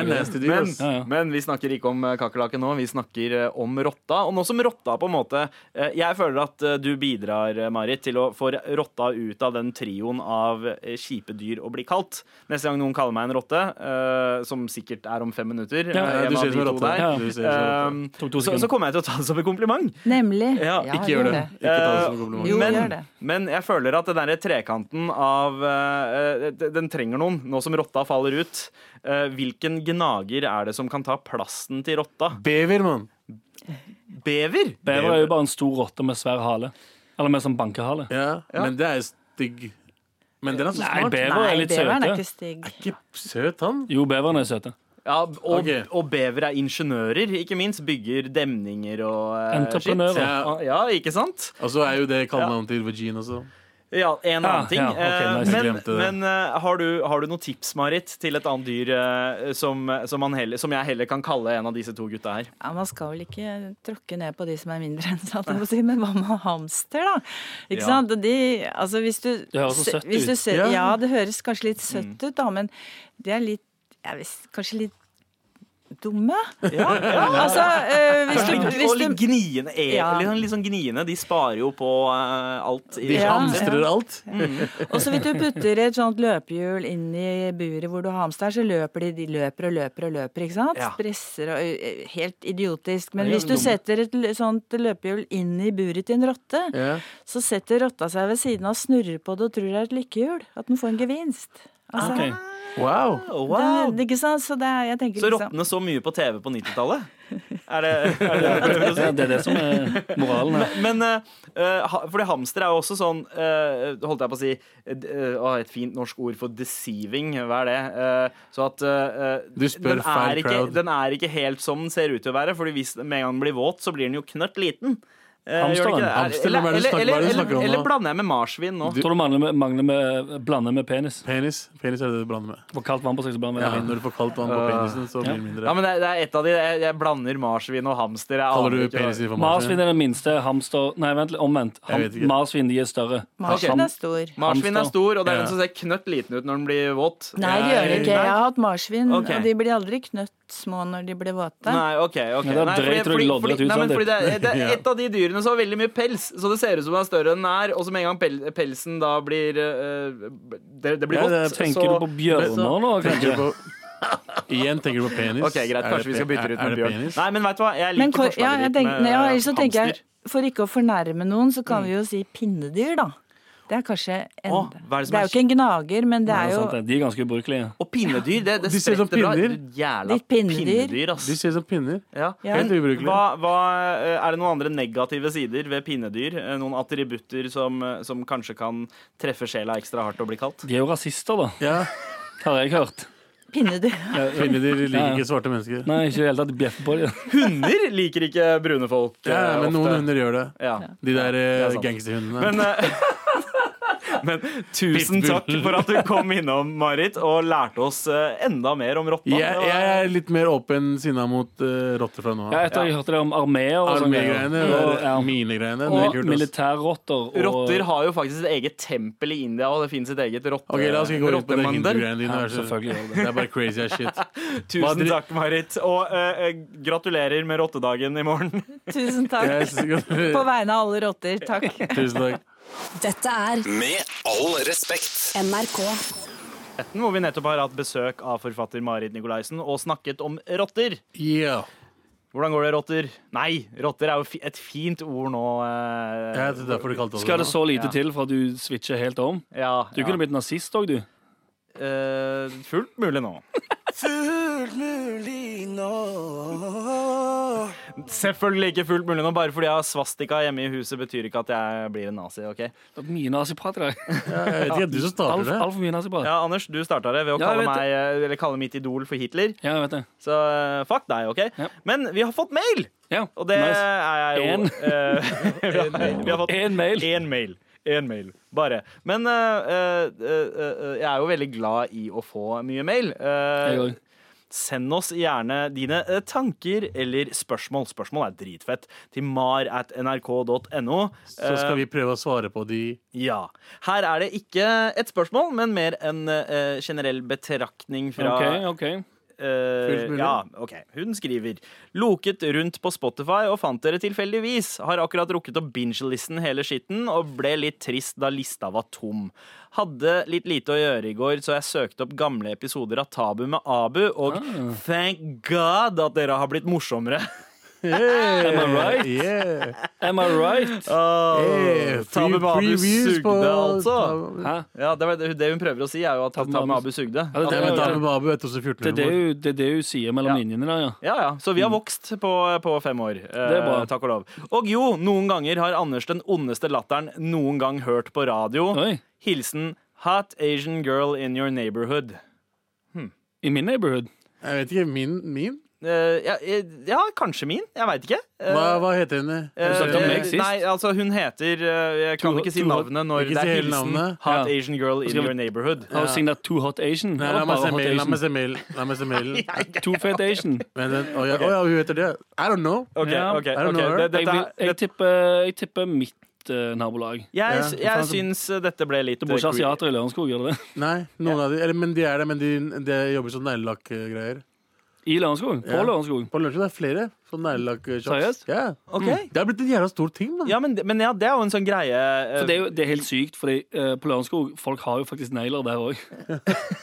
Speaker 5: Det
Speaker 6: er
Speaker 5: er
Speaker 6: det det.
Speaker 5: nasty dyr.
Speaker 3: Men,
Speaker 5: ass.
Speaker 6: Ja, ja.
Speaker 3: men vi snakker ikke om eh, kakerlakken nå, vi snakker eh, om rotta. Og nå som rotta på en måte eh, Jeg føler at eh, du bidrar, eh, Marit, til å få rotta ut av den trioen av eh, kjipe dyr å bli kalt. Neste gang noen kaller meg en rotte, eh, som sikkert er om fem minutter eh,
Speaker 6: Ja,
Speaker 5: Ja,
Speaker 3: en
Speaker 5: du
Speaker 3: av
Speaker 5: ser ut
Speaker 3: de
Speaker 5: som en
Speaker 3: to
Speaker 5: rotte.
Speaker 3: der,
Speaker 6: Ja.
Speaker 5: Du ser ut som en rotte.
Speaker 3: eh,
Speaker 6: Tok to
Speaker 3: så,
Speaker 6: sekunder.
Speaker 3: så kommer jeg til å ta det som en kompliment.
Speaker 4: Nemlig.
Speaker 3: Ja,
Speaker 5: Ikke gjør det. Ikke ta det som en kompliment.
Speaker 4: Jo,
Speaker 3: men,
Speaker 4: gjør det.
Speaker 3: men jeg føler at den der trekanten av eh, eh, Den trenger noen, nå som rotta faller ut. Eh, hvilken gnager er det som kan ta plassen til rotta?
Speaker 5: Bever, mann.
Speaker 3: Bever?
Speaker 6: Bever er jo bare en stor rotte med svær hale. Eller med sånn bankehale.
Speaker 5: Ja, men det er jo stygg. Men den er så
Speaker 6: Nei,
Speaker 5: smart.
Speaker 6: bever
Speaker 4: Nei,
Speaker 6: er litt
Speaker 4: beveren er
Speaker 6: søte.
Speaker 4: ikke stygg.
Speaker 5: Ikke søt, han.
Speaker 6: Jo, beverne er søte.
Speaker 3: Ja, og,
Speaker 5: Ok.
Speaker 3: og bever er ingeniører, ikke minst. Bygger demninger og eh,
Speaker 6: Entreprenører.
Speaker 3: shit. Ja, ja, ikke sant?
Speaker 5: Og så er jo det kallenavnet til Vagina også.
Speaker 3: Ja, en
Speaker 6: Ja,
Speaker 3: annen ting.
Speaker 6: ja, ok,
Speaker 3: Eh, men
Speaker 6: nice.
Speaker 5: Jeg glemte det.
Speaker 3: men eh, har, du, har du noen tips, Marit, til et annet dyr eh, som, som, han heller, som jeg heller kan kalle en av disse to gutta her?
Speaker 4: Ja, Man skal vel ikke tråkke ned på de som er mindre enn satt, jeg må si, men hva med hamster, da? Ikke
Speaker 3: Ja.
Speaker 4: sant? Og De, altså, hvis du,
Speaker 6: Det høres så
Speaker 4: sø-
Speaker 6: søtt
Speaker 4: hvis du
Speaker 6: ut.
Speaker 4: sø-
Speaker 5: Ja.
Speaker 4: ja, det høres kanskje litt søtt ut, da, men de er litt jeg vet, Kanskje litt dumme? Altså, eh, hvis
Speaker 3: Kanskje
Speaker 4: du,
Speaker 3: litt- og
Speaker 4: hvis
Speaker 3: litt
Speaker 4: du
Speaker 3: gniende. eh,
Speaker 4: Ja.
Speaker 3: Litt, sånn, litt sånn gniende. De sparer jo på eh, alt. i-
Speaker 5: De
Speaker 4: Ja.
Speaker 5: hamstrer alt.
Speaker 4: Og så hvis du putter et sånt løpehjul inn i buret hvor du har hamster, så løper de, de løper og løper og løper, ikke sant?
Speaker 3: Ja.
Speaker 4: Stresser og eh, Helt idiotisk. Men
Speaker 6: Ja,
Speaker 4: hvis du
Speaker 6: dumme.
Speaker 4: setter et l- sånt løpehjul inn i buret til en rotte,
Speaker 5: Ja.
Speaker 4: så setter rotta seg ved siden av, snurrer på det og tror det er et lykkehjul. At den får en gevinst. Altså,
Speaker 6: Ok.
Speaker 5: Wow.
Speaker 3: Wow.
Speaker 4: det, ikke sant? Så det er, jeg tenker
Speaker 3: Så
Speaker 4: liksom
Speaker 3: rottene så mye på TV på 90-tallet? Er det, er det
Speaker 4: *laughs*
Speaker 6: Ja, det er det som er moralen her.
Speaker 3: Men eh, eh, ha- fordi hamster er jo også sånn eh, Holdt jeg på å si eh, d- eh, å, Et fint norsk ord for deceiving. Hva er det? Eh, så at eh,
Speaker 5: Du spør
Speaker 3: den,
Speaker 5: feil
Speaker 3: er ikke,
Speaker 5: crowd.
Speaker 3: den er ikke helt som den ser ut til å være. Fordi hvis med en gang den blir våt, så blir den jo knørt liten. Eh, gjør det ikke det?
Speaker 6: Hamsteren.
Speaker 5: Hamster,
Speaker 3: Eller,
Speaker 5: hvem er det du
Speaker 3: eller,
Speaker 5: snakker-
Speaker 3: eller,
Speaker 5: hva er det du
Speaker 3: eller,
Speaker 5: snakker om nå?
Speaker 3: eller blander jeg med marsvin nå?
Speaker 6: Tror du mangler med, mangler med, blander med penis?
Speaker 5: Penis penis er det du blander med.
Speaker 6: Får kaldt vann på seg, så blander
Speaker 5: Ja,
Speaker 6: med vin.
Speaker 5: når du får kaldt vann på penisen, så blir det mindre.
Speaker 3: Ja, men det, er- det er et av de. Jeg, jeg blander marsvin og hamster. Jeg
Speaker 5: Kaller
Speaker 3: aner
Speaker 5: du
Speaker 3: ikke hva-
Speaker 5: penisen for
Speaker 6: Marsvin
Speaker 5: marsvin?
Speaker 6: er den minste. Hamster Nei, vent litt. Omvendt.
Speaker 5: Jeg vet ikke.
Speaker 6: Ham- Marsvin, de er større.
Speaker 4: Marsvin er stor.
Speaker 3: Marsvin er
Speaker 6: Hamster.
Speaker 3: stor, og det er
Speaker 5: Ja.
Speaker 3: den som ser knøtt liten ut når den blir våt.
Speaker 4: Nei, det gjør det ikke. Jeg har hatt marsvin,
Speaker 3: Ok.
Speaker 4: og de blir aldri knøtt små når de blir våte.
Speaker 3: Nei, ok, ok
Speaker 6: Ja, da
Speaker 3: Nei, fordi-
Speaker 6: dreit du
Speaker 3: fordi-
Speaker 6: loddrett
Speaker 3: fordi-
Speaker 6: ut,
Speaker 3: nei, men
Speaker 6: Sander.
Speaker 3: fordi det, er- det
Speaker 5: *laughs*
Speaker 3: er et av de dyrene som har veldig mye pels, så det ser ut som den er større enn den er. Og så med en gang pel, pelsen da blir eh, det, det blir
Speaker 5: Ja,
Speaker 3: vått.
Speaker 5: det
Speaker 6: Tenker
Speaker 3: så,
Speaker 6: du på bjørner nå,
Speaker 5: Tenker du
Speaker 6: kanskje?
Speaker 5: på- Igjen tenker du på penis.
Speaker 3: Ok, greit,
Speaker 5: Er
Speaker 3: kanskje
Speaker 5: det
Speaker 3: vi skal
Speaker 5: pe-
Speaker 3: bytte det ut med
Speaker 5: er- er det penis?
Speaker 3: bjørn. Nei, men vet du hva, jeg
Speaker 4: Men
Speaker 3: liker
Speaker 4: kor- ja, jeg
Speaker 3: forslaget ditt
Speaker 4: tenker,
Speaker 3: med
Speaker 4: ja,
Speaker 3: eh,
Speaker 4: ellers så tenker
Speaker 3: hamster. Mm.
Speaker 4: jeg, for ikke å fornærme noen, så kan vi jo si pinnedyr, da. Det er kanskje en
Speaker 3: Å, hva er det
Speaker 4: det,
Speaker 3: som er
Speaker 4: er jo ikke en gnager, men det
Speaker 6: Ja,
Speaker 4: er jo
Speaker 6: sant det. Sånn, De er ganske ubrukelige.
Speaker 3: Og pinnedyr, det, det
Speaker 5: De ser ut som
Speaker 3: spretter bra.
Speaker 5: pinner.
Speaker 3: Jævla
Speaker 4: Litt pinnedyr.
Speaker 3: pinnedyr, ass.
Speaker 5: De ser ut som pinner.
Speaker 3: Ja.
Speaker 4: Ja.
Speaker 5: Helt ubrukelig.
Speaker 3: Hva, hva, eh, er det noen andre negative sider ved pinnedyr? Eh, Noen attributter som, eh, som kanskje kan treffe sjela ekstra hardt og bli kalt?
Speaker 6: De er jo rasister, da,
Speaker 5: Ja,
Speaker 6: har jeg hørt.
Speaker 4: pinnedyr. *laughs*
Speaker 5: Pinnedyr
Speaker 6: Ja.
Speaker 5: liker ikke svarte mennesker.
Speaker 6: Nei, ikke i det hele tatt. Bjeffer på dem.
Speaker 3: Hunder liker ikke brune folk.
Speaker 5: Ja,
Speaker 3: eh,
Speaker 5: men
Speaker 3: ofte.
Speaker 5: noen hunder gjør det.
Speaker 3: ja.
Speaker 5: De der
Speaker 3: det er
Speaker 5: eh,
Speaker 3: sant.
Speaker 5: gangsterhundene.
Speaker 3: Men, eh, men tusen takk
Speaker 5: Pitbull.
Speaker 3: for at du kom innom, Marit, og lærte oss eh, enda mer om rotta.
Speaker 5: Jeg, jeg er litt mer åpen sinna mot eh, rotter fra nå av.
Speaker 6: Ja, etter jeg hørte sånn, det om armeer og sånne
Speaker 5: Armegreiene
Speaker 6: Og,
Speaker 5: og
Speaker 6: ja.
Speaker 5: minegreiene. Det er
Speaker 6: og
Speaker 5: kult. ass.
Speaker 6: militærrotter. og-
Speaker 3: Rotter har jo faktisk sitt eget tempel i India, og det finnes sitt eget rotte,
Speaker 5: Ok, La oss ikke gå inn på de
Speaker 3: rottemandel.
Speaker 5: hindugreiene dine.
Speaker 6: Ja,
Speaker 5: vær så-
Speaker 6: selvfølgelig gjør det.
Speaker 5: Det er bare crazy as shit. Hva
Speaker 3: Tusen
Speaker 5: dri-
Speaker 3: takk, Marit. Og eh, eh, gratulerer med rottedagen i morgen.
Speaker 4: Tusen takk.
Speaker 5: Jeg
Speaker 4: *laughs*
Speaker 5: synes ikke-
Speaker 4: På vegne av alle rotter, takk.
Speaker 5: Tusen takk.
Speaker 2: Dette er
Speaker 1: Med all respekt.
Speaker 2: NRK.
Speaker 3: Hvor vi nettopp har hatt besøk av forfatter Marit Nikolaisen og snakket om rotter.
Speaker 5: Yeah.
Speaker 3: Hvordan går det, rotter? Nei, rotter er jo fi et fint ord nå. eh,
Speaker 5: Jeg vet derfor du kalte oss
Speaker 6: Skal det
Speaker 5: det.
Speaker 6: så lite
Speaker 3: Ja.
Speaker 6: til for at du switcher helt om?
Speaker 3: ja,
Speaker 6: Du
Speaker 3: ja.
Speaker 6: kunne blitt nazist òg, du.
Speaker 3: Eh, fullt mulig nå.
Speaker 1: Fullt mulig nå.
Speaker 3: Selvfølgelig ikke fullt mulig nå. Bare fordi jeg har svastika hjemme i huset, betyr ikke at jeg blir en nazi. ok?
Speaker 6: Det er Mye naziprat i *laughs* dag.
Speaker 5: Ja, jeg vet ikke, du som starter det.
Speaker 6: Altfor mye naziprat. Ja.
Speaker 3: Ja, Anders, du starta det ved å
Speaker 6: Ja,
Speaker 3: kalle,
Speaker 6: jeg vet
Speaker 3: meg, eh, eller kalle mitt idol for Hitler.
Speaker 6: jeg vet det.
Speaker 3: Så eh, fuck deg, OK?
Speaker 6: Ja.
Speaker 3: Men vi har fått mail!
Speaker 6: Ja,
Speaker 3: Og det
Speaker 6: nice.
Speaker 3: er jeg jo
Speaker 6: En.
Speaker 3: eh, *laughs* vi, har, vi har fått
Speaker 6: En mail.
Speaker 3: Én mail. Én mail, bare. Men eh, eh, eh, eh, jeg er jo veldig glad i å få mye mail. Eh,
Speaker 6: Jeg òg.
Speaker 3: Send oss gjerne dine eh, tanker eller spørsmål. Spørsmål er dritfett. Til mar at nrk.no.
Speaker 5: Så skal vi prøve å svare på de
Speaker 3: Ja. Her er det ikke et spørsmål, men mer en eh, generell betraktning fra
Speaker 6: OK, OK.
Speaker 3: Eh,
Speaker 5: mulig.
Speaker 3: ja, ok. Hun skriver Loket rundt på Spotify og fant dere tilfeldigvis. Har akkurat rukket å binge-listen hele skitten og ble litt trist da lista var tom. Hadde litt lite å gjøre i går, så jeg søkte opp gamle episoder av Tabu med Abu, og
Speaker 5: Ah.
Speaker 3: thank god at dere har blitt morsommere.
Speaker 5: *laughs* Am
Speaker 6: I right?
Speaker 5: Yeah.
Speaker 6: Am I right?
Speaker 5: Hey,
Speaker 3: Tabu med Abu
Speaker 5: Eh, previews
Speaker 3: sugde,
Speaker 5: på-
Speaker 3: altså.
Speaker 6: Hæ?
Speaker 3: Ja, det, var det, det hun prøver å si, er jo at Tabu med Abu sugde.
Speaker 6: Ja,
Speaker 5: Det
Speaker 6: det
Speaker 5: er med
Speaker 6: er-
Speaker 5: Tabu Babu er 2014.
Speaker 6: Det er det hun- det er det hun sier mellom
Speaker 3: Ja.
Speaker 6: linjene der, ja.
Speaker 3: Ja, ja. Så vi har vokst på, på fem år. Det
Speaker 6: Mm. er bra.
Speaker 3: Takk og lov. Og jo, noen ganger har Anders den ondeste latteren noen gang hørt på radio.
Speaker 6: Oi.
Speaker 3: Hilsen Hot Asian Girl in Your Neighborhood.
Speaker 6: I min neighborhood.
Speaker 5: Jeg vet ikke. Min? min?
Speaker 3: Eh, ja, eh, ja, kanskje min. Jeg veit ikke. Eh,
Speaker 5: Hva, hva heter henne?
Speaker 3: eh,
Speaker 6: snakket om meg sist.
Speaker 3: nei, altså hun heter eh, Jeg kan
Speaker 6: Tora-
Speaker 3: ikke si
Speaker 6: Tora-
Speaker 3: navnet når
Speaker 5: Ikke
Speaker 3: det
Speaker 5: si
Speaker 3: er
Speaker 5: hele
Speaker 3: hilsen
Speaker 5: navnet.
Speaker 3: Hot
Speaker 6: Ja.
Speaker 3: Asian Girl in
Speaker 6: Skal vi-
Speaker 3: your neighborhood.
Speaker 6: Har hun signet Too Hot Asian?
Speaker 5: Nei,
Speaker 6: Eller
Speaker 5: la meg
Speaker 6: bare
Speaker 5: se
Speaker 6: Hot
Speaker 5: mail, la
Speaker 6: Asian?
Speaker 5: meg se mail. La meg se *laughs* mailen.
Speaker 6: Too Fat Asian.
Speaker 5: Men den- Å ja, å ja, hun heter det. I don't know.
Speaker 3: Ok,
Speaker 6: Ja.
Speaker 3: ok,
Speaker 5: I don't
Speaker 3: ok.
Speaker 5: know her.
Speaker 3: Det, *laughs*
Speaker 6: Jeg,
Speaker 3: dette,
Speaker 6: vil,
Speaker 3: er-
Speaker 6: jeg,
Speaker 3: det,
Speaker 6: tipper, jeg tipper mitt eh, nabolag.
Speaker 3: jeg,
Speaker 5: Ja,
Speaker 3: jeg,
Speaker 5: faen, så-
Speaker 3: syns dette ble litt
Speaker 6: Det bor ikke
Speaker 3: creepy.
Speaker 6: asiater i Lørenskog, gjør det det?
Speaker 5: Nei, noen av de, eller, men de er det, men de, de jobber som neglelakk-greier.
Speaker 6: I Lørenskog? På
Speaker 5: Ja.
Speaker 6: Lørenskog?
Speaker 5: På lunsjen er det flere sånn neglelakk-shops.
Speaker 6: Seriøst?
Speaker 5: Ja.
Speaker 3: Ok.
Speaker 5: Det har blitt en jævla stor ting, mann.
Speaker 3: Ja, men, men ja, det er jo en sånn greie eh,
Speaker 6: For det er jo det er helt sykt, Fordi eh, på Lørenskog folk har jo faktisk negler
Speaker 5: *laughs*
Speaker 6: der òg.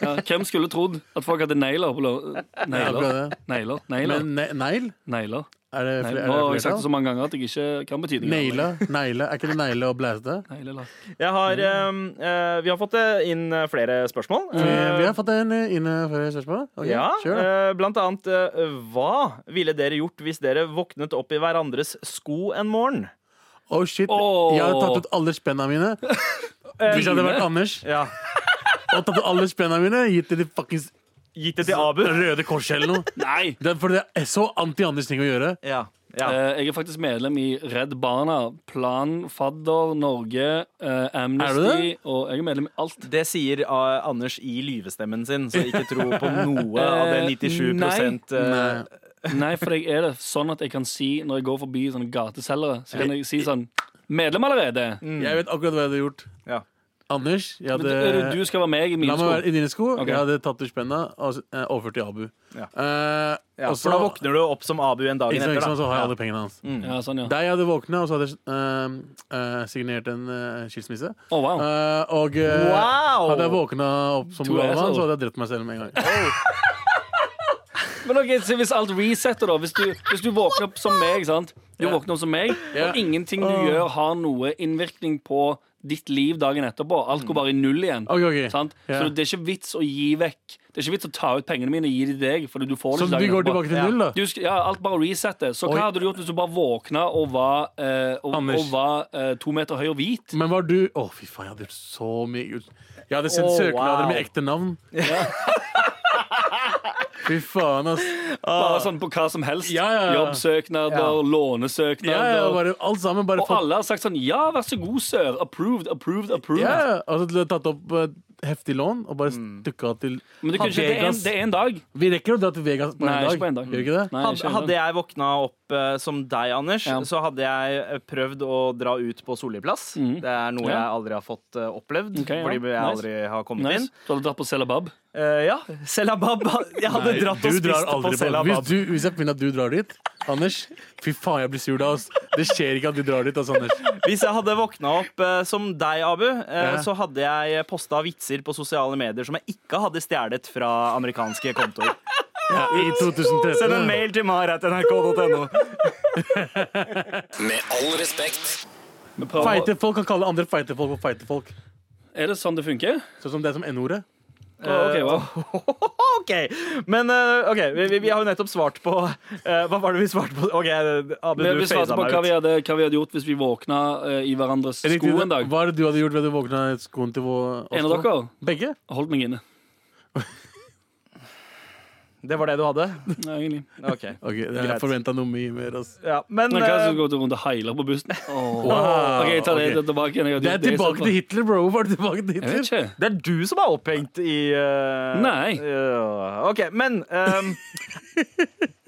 Speaker 6: Ja, hvem skulle trodd at folk hadde negler på Lørenskog? Negler.
Speaker 5: akkurat det.
Speaker 6: Negler. Negler.
Speaker 5: Men ne negl?
Speaker 6: negler.
Speaker 5: Er det
Speaker 6: Nei,
Speaker 5: flere?
Speaker 6: Nå har jeg sagt det så
Speaker 5: som
Speaker 6: mange ganger at jeg ikke kan betydningen. av
Speaker 5: Negle?
Speaker 3: *laughs*
Speaker 5: Negle? Er ikke det negle og blæste?
Speaker 6: det. Negler.
Speaker 3: Jeg
Speaker 5: Mm.
Speaker 3: har, eh, eh, vi har fått eh, inn eh, flere spørsmål.
Speaker 5: Vi vi har fått en eh, inne før spørsmålet. Okay,
Speaker 3: ja,
Speaker 5: kjør da.
Speaker 3: eh, blant annet eh, Hva ville dere gjort hvis dere våknet opp i hverandres sko en morgen?
Speaker 5: Oh shit,
Speaker 6: Åh.
Speaker 5: jeg har tatt ut alle
Speaker 3: *laughs*
Speaker 5: spenna mine. Hvis jeg hadde vært Anders
Speaker 3: Ja.
Speaker 5: og tatt ut alle spenna mine, gitt det til fuckings
Speaker 3: Gitt det til Abu?
Speaker 5: Røde Kors eller noe.
Speaker 6: Nei!
Speaker 5: Det er, for det er så anti-Anders ting å gjøre.
Speaker 3: Ja. Ja.
Speaker 6: Eh, Jeg er faktisk medlem i Redd Barna, Plan Fadder Norge, eh, Amnesty og Jeg er medlem i alt.
Speaker 3: Det sier eh, Anders i lyvestemmen sin, så ikke tro på noe av det 97 eh,
Speaker 6: Nei, for jeg er det sånn at jeg kan si når jeg går forbi sånne gateselgere, så kan jeg si sånn Medlem allerede!
Speaker 5: Mm. Jeg vet akkurat hva jeg hadde gjort.
Speaker 3: Ja.
Speaker 5: Anders, jeg
Speaker 6: Men du,
Speaker 5: hadde
Speaker 6: du skal være meg i
Speaker 5: La
Speaker 6: mine
Speaker 5: meg
Speaker 6: sko.
Speaker 5: være i dine sko.
Speaker 6: Ok.
Speaker 5: Jeg hadde tatt ut spenna og s- eh, overført til Abu.
Speaker 3: Ja.
Speaker 5: Eh,
Speaker 3: Ja,
Speaker 5: og
Speaker 3: for da våkner du opp som Abu en dag
Speaker 5: ikke sant,
Speaker 3: etter.
Speaker 5: ikke sant, så har jeg
Speaker 3: Da. Mm.
Speaker 5: alle pengene hans.
Speaker 6: Ja, sånn, ja.
Speaker 5: Deg hadde våkna, og så hadde jeg eh, eh, signert en eh, skilsmisse.
Speaker 6: Å, wow.
Speaker 5: Eh, og eh,
Speaker 3: Wow!
Speaker 5: hadde jeg våkna opp som
Speaker 6: To
Speaker 5: gavemann,
Speaker 6: assholes.
Speaker 5: så hadde jeg drept meg selv med en gang.
Speaker 6: Men ok, så Hvis alt resetter, da Hvis du, hvis du våkner opp som meg, sant? Du
Speaker 5: Ja.
Speaker 6: våkner opp som meg
Speaker 5: Ja.
Speaker 6: og ingenting du gjør, har noe innvirkning på ditt liv dagen etterpå. Alt går bare i null igjen.
Speaker 5: Ok, ok.
Speaker 6: Sant?
Speaker 5: Ja.
Speaker 6: Så det er ikke vits å gi vekk Det er ikke vits å ta ut pengene mine og gi de til deg. Fordi du får det
Speaker 5: Så du
Speaker 6: ikke dagen
Speaker 5: går
Speaker 6: etterpå.
Speaker 5: tilbake til null, da?
Speaker 6: Du sk- ja, alt bare resetter. Så
Speaker 5: Oi.
Speaker 6: hva hadde du gjort hvis du bare våkna og var, eh, og,
Speaker 5: Anders.
Speaker 6: og var eh, to meter høy og hvit?
Speaker 5: Men var du Å, fy faen, jeg hadde gjort så mye ut. Jeg hadde sendt
Speaker 3: Å,
Speaker 5: søknader
Speaker 3: wow.
Speaker 5: med ekte navn. fy faen, ass.
Speaker 6: Bare sånn på hva som helst.
Speaker 5: Ah. Ja, ja, ja.
Speaker 6: Jobbsøknader,
Speaker 3: Ja.
Speaker 6: lånesøknader.
Speaker 5: Ja, ja, bare, alt sammen bare
Speaker 6: Og
Speaker 5: fått
Speaker 6: alle har sagt sånn Ja, vær så god, sør. Approved, approved, approved.
Speaker 5: ja, ja. altså, Du har tatt opp eh, heftig lån og bare
Speaker 6: Mm.
Speaker 5: stukket av til
Speaker 6: Men du kunne ikke, det, er en,
Speaker 5: Vegas.
Speaker 6: det er en dag.
Speaker 5: Vi rekker å dra til Vegas på
Speaker 6: Nei,
Speaker 5: en dag.
Speaker 6: ikke på en dag.
Speaker 5: Gjør vi ikke det?
Speaker 6: Nei,
Speaker 3: Hadde,
Speaker 6: ikke
Speaker 3: hadde jeg våkna opp eh, som deg, Anders,
Speaker 6: Ja.
Speaker 3: så hadde jeg eh, prøvd å dra ut på Solli plass. Det er noe jeg
Speaker 6: Mhm. Ja.
Speaker 3: aldri har fått eh, opplevd,
Speaker 6: Ok, ja.
Speaker 3: fordi jeg
Speaker 6: Nice.
Speaker 3: aldri har kommet
Speaker 6: Nice.
Speaker 3: inn.
Speaker 6: Du hadde dratt på Selabab.
Speaker 3: Eh, ja, Selabab. *laughs* Jeg hadde
Speaker 5: Nei,
Speaker 3: dratt
Speaker 5: du
Speaker 3: og
Speaker 5: drar
Speaker 3: spist på
Speaker 5: aldri Hvis,
Speaker 3: Selabab.
Speaker 5: du, hvis jeg finner at du drar dit, Anders Fy faen, jeg blir sur da. Ass. Det skjer ikke at du drar dit. Ass, Anders
Speaker 3: Hvis jeg hadde våkna opp eh, som deg, Abu, eh,
Speaker 5: Ja.
Speaker 3: så hadde jeg posta vitser på sosiale medier som jeg ikke hadde stjålet fra amerikanske
Speaker 5: *laughs*
Speaker 3: kontoer.
Speaker 5: ja, I 2013.
Speaker 3: Send en mail til mar.nrk.no.
Speaker 1: Med all respekt.
Speaker 6: Vi prøver-
Speaker 5: Feite folk kan kalle andre feite folk for feite folk.
Speaker 6: Er det sånn det funker?
Speaker 5: Sånn som det som N-ordet.
Speaker 6: Å,
Speaker 5: Eh,
Speaker 6: ok, wow.
Speaker 3: *laughs* OK. Men eh, ok, vi, vi- vi har jo nettopp svart på eh, Hva var det vi svarte på? OK, Abu,
Speaker 6: Vi,
Speaker 3: du
Speaker 6: vi svarte
Speaker 3: faisa
Speaker 6: på
Speaker 3: meg
Speaker 6: hva vi
Speaker 3: ut.
Speaker 6: hadde, hva vi hadde gjort hvis vi våkna eh, i hverandres sko en dag.
Speaker 5: Hva er det du hadde gjort ved du våkna i skoen til vår
Speaker 6: En av dere
Speaker 5: Begge?
Speaker 6: holdt meg inne.
Speaker 3: Det var det du hadde?
Speaker 6: Nei, egentlig.
Speaker 3: OK.
Speaker 5: Ok, Jeg
Speaker 3: Greit.
Speaker 5: forventa noe mye mer. Ass.
Speaker 3: *laughs* Ja, men
Speaker 6: Men hva er det
Speaker 3: eh,
Speaker 6: som går rundt og heiler på bussen?
Speaker 5: Wow,
Speaker 6: Ok, jeg tar det
Speaker 5: ok.
Speaker 6: det tilbake igjen. Jeg hadde
Speaker 5: Det er
Speaker 6: gjort i så
Speaker 5: tilbake
Speaker 6: fall.
Speaker 5: til Hitler, bro. Var det tilbake til
Speaker 6: Jeg vet
Speaker 5: Hitler?
Speaker 6: ikke.
Speaker 3: det er du som er opphengt i eh,
Speaker 6: Nei.
Speaker 3: eh, OK, men
Speaker 6: *laughs*
Speaker 3: ehm,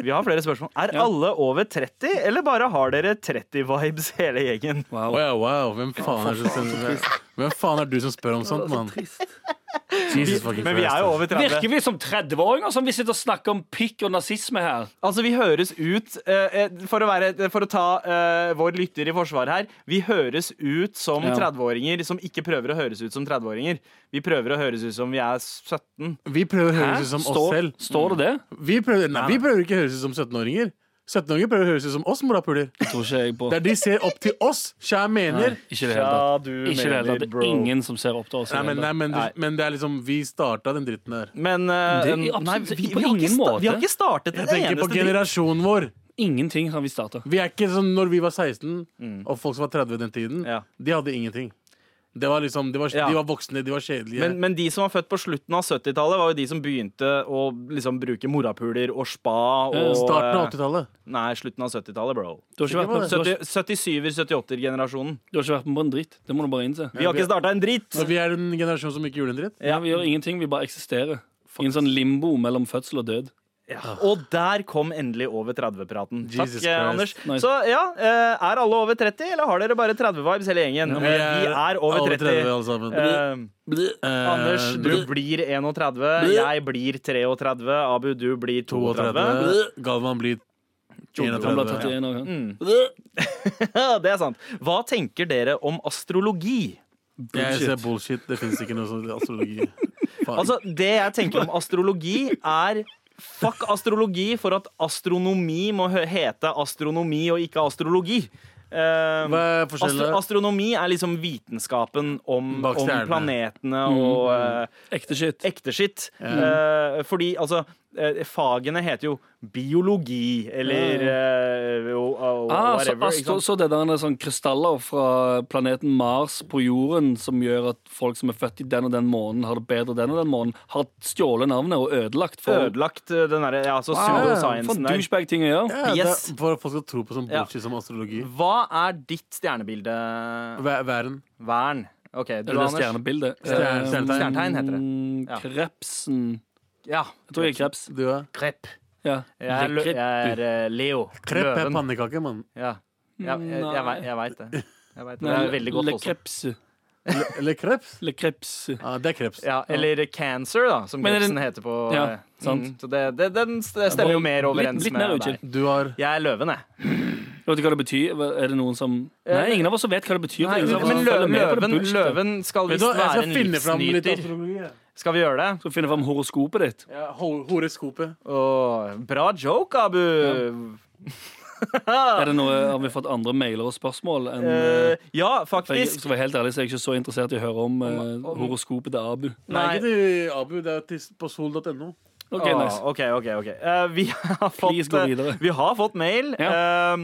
Speaker 3: Vi har flere spørsmål. Er
Speaker 6: Ja.
Speaker 3: alle over 30, eller bare har dere 30-vibes hele gjengen?
Speaker 5: Wow, wow, Hvem faen er, det som, hvem faen er du som spør om sånt, mann? Jesus fucking
Speaker 3: Men vi er jo
Speaker 5: ass.
Speaker 3: over 30.
Speaker 6: Virker vi som 30-åringer som vi sitter og snakker om pikk og nazisme her?
Speaker 3: Altså, vi høres ut eh, eh, for, å være, for å ta eh, vår lytter i forsvar her Vi høres ut som
Speaker 6: Ja.
Speaker 3: 30-åringer som ikke prøver å høres ut som 30-åringer. Vi prøver å høres ut som vi er 17.
Speaker 5: Vi prøver å
Speaker 6: Hæ?
Speaker 5: høres ut som oss
Speaker 6: Står-
Speaker 5: selv.
Speaker 6: Står det det?
Speaker 5: Vi prøver, nei, vi prøver ikke å høres ut som 17-åringer. 17-åringer prøver å høres ut som oss, morapuler.
Speaker 6: Tror ikke jeg på.
Speaker 5: Der de ser opp til oss. Skjær mener.
Speaker 6: Nei, ikke i det hele tatt.
Speaker 3: du
Speaker 6: Ikke i det hele tatt. Det er ingen som ser opp til oss. i
Speaker 5: Nei,
Speaker 6: det
Speaker 5: men,
Speaker 6: hele
Speaker 5: nei,
Speaker 6: tatt.
Speaker 5: men,
Speaker 3: Nei.
Speaker 5: men det er liksom Vi starta den dritten der.
Speaker 3: Men eh,
Speaker 6: Det er
Speaker 3: en-
Speaker 6: absolutt-
Speaker 3: nei, vi,
Speaker 6: på
Speaker 3: vi, har
Speaker 6: ingen
Speaker 3: ikke sta,
Speaker 6: måte.
Speaker 3: vi har ikke startet en
Speaker 5: Tenker på
Speaker 3: eneste ting.
Speaker 5: generasjonen vår.
Speaker 6: Ingenting har vi starta.
Speaker 5: Vi er ikke sånn når vi var 16, og folk som var 30 den tiden,
Speaker 3: Mm. Ja.
Speaker 5: de hadde ingenting. Det var liksom, de, var,
Speaker 3: Ja.
Speaker 5: de var voksne, de var kjedelige.
Speaker 3: Men, men de som var født på slutten av 70-tallet, var jo de som begynte å liksom, bruke morapuler og spa og
Speaker 5: Starten av
Speaker 3: eh,
Speaker 5: 80-tallet.
Speaker 3: Nei, slutten av 70-tallet, bro.
Speaker 6: Du har ikke vært med, du har, ikke-
Speaker 3: 70- 77-78-generasjonen.
Speaker 6: du har ikke vært med på en dritt. Det må du bare innse.
Speaker 3: Vi har ikke starta en drit!
Speaker 5: Så vi er en generasjon som ikke gjorde en dritt.
Speaker 6: Ja, vi gjør ingenting, vi bare eksisterer. I en sånn limbo mellom fødsel og død.
Speaker 3: Ja. Og der kom endelig over 30-praten. Takk,
Speaker 5: Jesus
Speaker 3: eh,
Speaker 5: Christ.
Speaker 3: Anders.
Speaker 6: Nice.
Speaker 3: Så ja, eh, er alle over 30, eller har dere bare 30-vibes hele gjengen?
Speaker 5: Vi
Speaker 3: Eh, vi er over 30.
Speaker 5: alle sammen.
Speaker 3: Eh,
Speaker 5: Eh,
Speaker 3: Anders, du blir 31. Jeg blir 33. Abu, du blir *laughs* 32.
Speaker 5: 32. Galvan blir
Speaker 6: Han ble
Speaker 5: 31.
Speaker 6: 31 år. ja.
Speaker 3: Det er sant. Hva tenker dere om astrologi?
Speaker 5: Jeg ser bullshit. Det fins ikke noe sånn
Speaker 3: *laughs*
Speaker 5: astrologi. Faen.
Speaker 3: Altså, det jeg tenker om astrologi, er Fuck astrologi for at astronomi må hø- hete astronomi og ikke astrologi. Eh,
Speaker 5: Hva er forskjellen?
Speaker 3: astro astronomi er liksom vitenskapen om,
Speaker 5: Bak
Speaker 3: om
Speaker 5: stjernene.
Speaker 3: planetene og eh,
Speaker 6: Ekte shit.
Speaker 3: ekte skitt. Eh, fordi altså eh, Fagene heter jo biologi eller eh, og- og
Speaker 6: Ah, så,
Speaker 3: whatever.
Speaker 6: så,
Speaker 3: ikke sant?
Speaker 6: så det der er sånn krystaller fra planeten Mars på jorden som gjør at folk som er født i den og den måneden, har det bedre den og den måneden, har stjålet navnet og ødelagt for
Speaker 3: Ødelagt Ah, eh, den derre ja, så
Speaker 6: For en
Speaker 3: pseudosciencen der.
Speaker 6: douchebag-ting å gjøre.
Speaker 5: Ja,
Speaker 3: Yes.
Speaker 5: det er For at folk skal tro på sånn
Speaker 3: Ja.
Speaker 5: bullshit som astrologi.
Speaker 3: Hva er ditt stjernebilde,
Speaker 5: Væ- Væren.
Speaker 3: Vern? OK, du,
Speaker 6: Eller det
Speaker 3: Anders.
Speaker 6: stjernebildet.
Speaker 5: Stjerne-
Speaker 6: Eh, mm,
Speaker 5: stjernetegn.
Speaker 3: Stjernetegn heter det. Ja.
Speaker 6: Krepsen.
Speaker 3: Ja.
Speaker 6: Jeg tror jeg er kreps.
Speaker 5: Du er
Speaker 3: Krepp.
Speaker 6: Ja.
Speaker 3: Jeg er, lø- jeg
Speaker 6: Krepp,
Speaker 3: er
Speaker 6: du.
Speaker 3: eh, Leo.
Speaker 5: krepp er
Speaker 3: Løven.
Speaker 5: pannekake, mann.
Speaker 3: Ja. Ja, jeg jeg,
Speaker 6: Mm, Nei.
Speaker 3: vei- jeg veit det. Jeg vet det. det
Speaker 6: Nei,
Speaker 3: er veldig godt
Speaker 6: Le
Speaker 3: også.
Speaker 6: kreps.
Speaker 5: Eller- Eller kreps?
Speaker 3: *laughs*
Speaker 6: Le kreps.
Speaker 5: Ja, det er kreps.
Speaker 3: Ja, eller cancer, da, som
Speaker 6: Men er
Speaker 3: Grepsen
Speaker 6: den-
Speaker 3: heter på
Speaker 6: Ja,
Speaker 3: eh,
Speaker 6: sant.
Speaker 3: Mm, så det, det, den s- det stemmer jo mer overens
Speaker 6: litt, litt mer
Speaker 3: med
Speaker 6: utkild.
Speaker 3: deg.
Speaker 5: Du har
Speaker 3: Jeg er løven, jeg.
Speaker 6: Vet du hva det betyr? Hva- Er det noen som Nei, ingen av oss som vet hva det betyr. for
Speaker 3: Eh, Nei,
Speaker 6: ingen av oss
Speaker 3: men
Speaker 6: som
Speaker 3: lø,
Speaker 6: følger med på det
Speaker 3: løven,
Speaker 6: bullshitet.
Speaker 3: løven skal
Speaker 5: Vet
Speaker 3: visst
Speaker 5: du hva, jeg
Speaker 3: være en
Speaker 5: skal finne fram litt
Speaker 3: livsnyter.
Speaker 5: astrologi. jeg.
Speaker 3: Skal vi gjøre det?
Speaker 6: Så finner jeg fram horoskopet ditt.
Speaker 5: Ja, ho- Horeskopet.
Speaker 3: Åh, bra joke, Abu.
Speaker 6: Er det noe, har vi fått andre mailer og spørsmål? Enn,
Speaker 3: *laughs* Eh, ja,
Speaker 6: for jeg,
Speaker 3: faktisk.
Speaker 6: skal være helt ærlig, så er jeg ikke så interessert i å høre om eh, horoskopet til Abu.
Speaker 5: Nei, ikke
Speaker 3: Nei.
Speaker 5: til Abu. Det er til, på sol.no.
Speaker 6: Ok,
Speaker 3: Åh,
Speaker 6: nice.
Speaker 3: Ah, OK, OK. ok Eh, vi, har
Speaker 6: Please
Speaker 3: fått,
Speaker 6: gå videre.
Speaker 3: eh, vi har fått mail. Eh,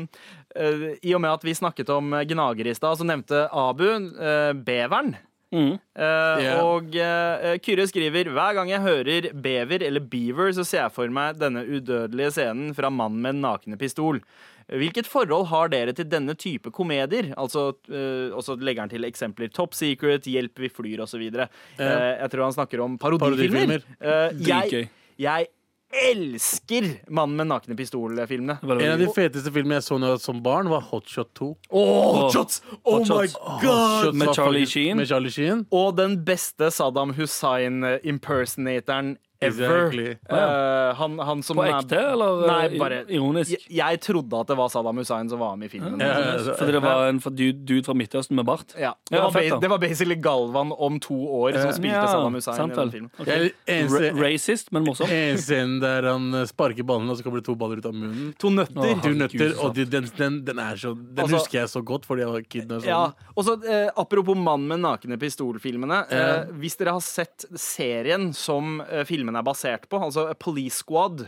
Speaker 3: eh, I og med at vi snakket om eh, gnager i stad, så nevnte Abu eh, beveren.
Speaker 6: Mm.
Speaker 3: Eh, Og eh, Kyrre skriver Hver gang jeg hører bever eller beaver, så ser jeg for meg denne udødelige scenen fra Mannen med den nakne pistol. Hvilket forhold har dere til denne type komedier? Altså, eh, og så legger han til eksempler Top Secret, Hjelp vi flyr osv. videre Eh, jeg tror han snakker om parodifilmer.
Speaker 5: Parodifilmer.
Speaker 3: Eh, jeg,
Speaker 6: Dritgøy.
Speaker 3: jeg elsker Mannen med den nakne pistol-filmene.
Speaker 6: Det var
Speaker 5: En av de
Speaker 6: veldig-
Speaker 5: feteste filmene jeg så når jeg var som barn, var Hotshot 2.
Speaker 3: Oh,
Speaker 6: Åh,
Speaker 3: shots! Oh
Speaker 6: Hot
Speaker 3: my
Speaker 6: Shots.
Speaker 3: god!
Speaker 5: Shots
Speaker 6: Med
Speaker 5: var
Speaker 6: Charlie
Speaker 5: faktisk-
Speaker 6: Sheen.
Speaker 5: Med Charlie Sheen.
Speaker 3: Og den beste Saddam Hussein-impersonatoren ever.
Speaker 5: Exactly.
Speaker 3: Eh, han, han som
Speaker 6: På
Speaker 3: er-
Speaker 6: ekte, eller eh,
Speaker 3: Nei, bare
Speaker 6: ironisk?
Speaker 3: jeg, jeg trodde at det var Saddam Hussein som var med i filmen.
Speaker 5: Ja, ja, ja.
Speaker 6: Fordi det var en for- dude, dude fra Midtøsten med bart?
Speaker 3: Ja, det,
Speaker 6: Ja,
Speaker 3: var,
Speaker 6: fett
Speaker 3: ba-
Speaker 6: da. Eh,
Speaker 3: det var basically Galvan om to år som spilte
Speaker 6: Ja,
Speaker 3: Saddam Hussein. i
Speaker 6: sant
Speaker 3: den
Speaker 6: vel.
Speaker 3: filmen.
Speaker 6: Ok.
Speaker 5: Jeg, eneste,
Speaker 6: Ra- Racist, men morsom.
Speaker 5: En scene der han eh, sparker ballen, og så kommer det to baller ut av munnen.
Speaker 3: To nøtter.
Speaker 6: Åh,
Speaker 5: Du
Speaker 6: herregud,
Speaker 5: nøtter,
Speaker 6: så
Speaker 5: og de, den, den, den, er så, den
Speaker 3: Altså-
Speaker 5: husker jeg så godt fordi jeg var kid. da jeg så
Speaker 3: Ja,
Speaker 5: den.
Speaker 3: og så eh, Apropos Mann med nakne pistol-filmene. Eh, hvis dere har sett serien som eh, filmene er basert på, altså Police Squad,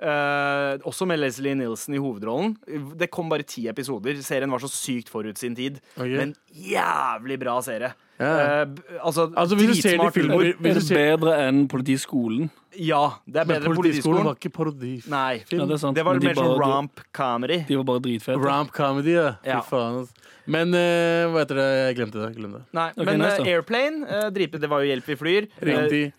Speaker 3: eh, også med Leslie Nielsen i hovedrollen Det kom bare ti episoder. Serien var så sykt forut sin tid.
Speaker 5: Ok.
Speaker 3: Men jævlig bra serie.
Speaker 5: Ja.
Speaker 3: Eh, b- altså,
Speaker 5: Altså, hvis du ser det i
Speaker 3: dritsmart
Speaker 5: filmen
Speaker 3: humor.
Speaker 5: hvis-
Speaker 6: Er
Speaker 5: hvis du
Speaker 6: det
Speaker 5: ser,
Speaker 6: bedre enn Politiskolen?
Speaker 3: Ja, det er
Speaker 5: Men
Speaker 3: bedre
Speaker 5: Politiskolen
Speaker 3: politiskolen.
Speaker 5: var ikke parodifilm.
Speaker 3: Nei.
Speaker 6: Ja, det er sant.
Speaker 3: Det var
Speaker 6: Men de
Speaker 3: mer sånn
Speaker 6: bare-
Speaker 3: romp-comedy.
Speaker 6: De var bare dritfete.
Speaker 5: Ramp comedy, ja. Fy
Speaker 3: Ja.
Speaker 5: faen. ass. Men eh, hva heter det? Jeg glemte det. Glem det.
Speaker 3: Nei,
Speaker 6: Ok,
Speaker 3: Men
Speaker 6: nice
Speaker 3: eh,
Speaker 6: da.
Speaker 3: Airplane, eh, dripe, det var jo Hjelp vi flyr. Eh,
Speaker 5: Riktig.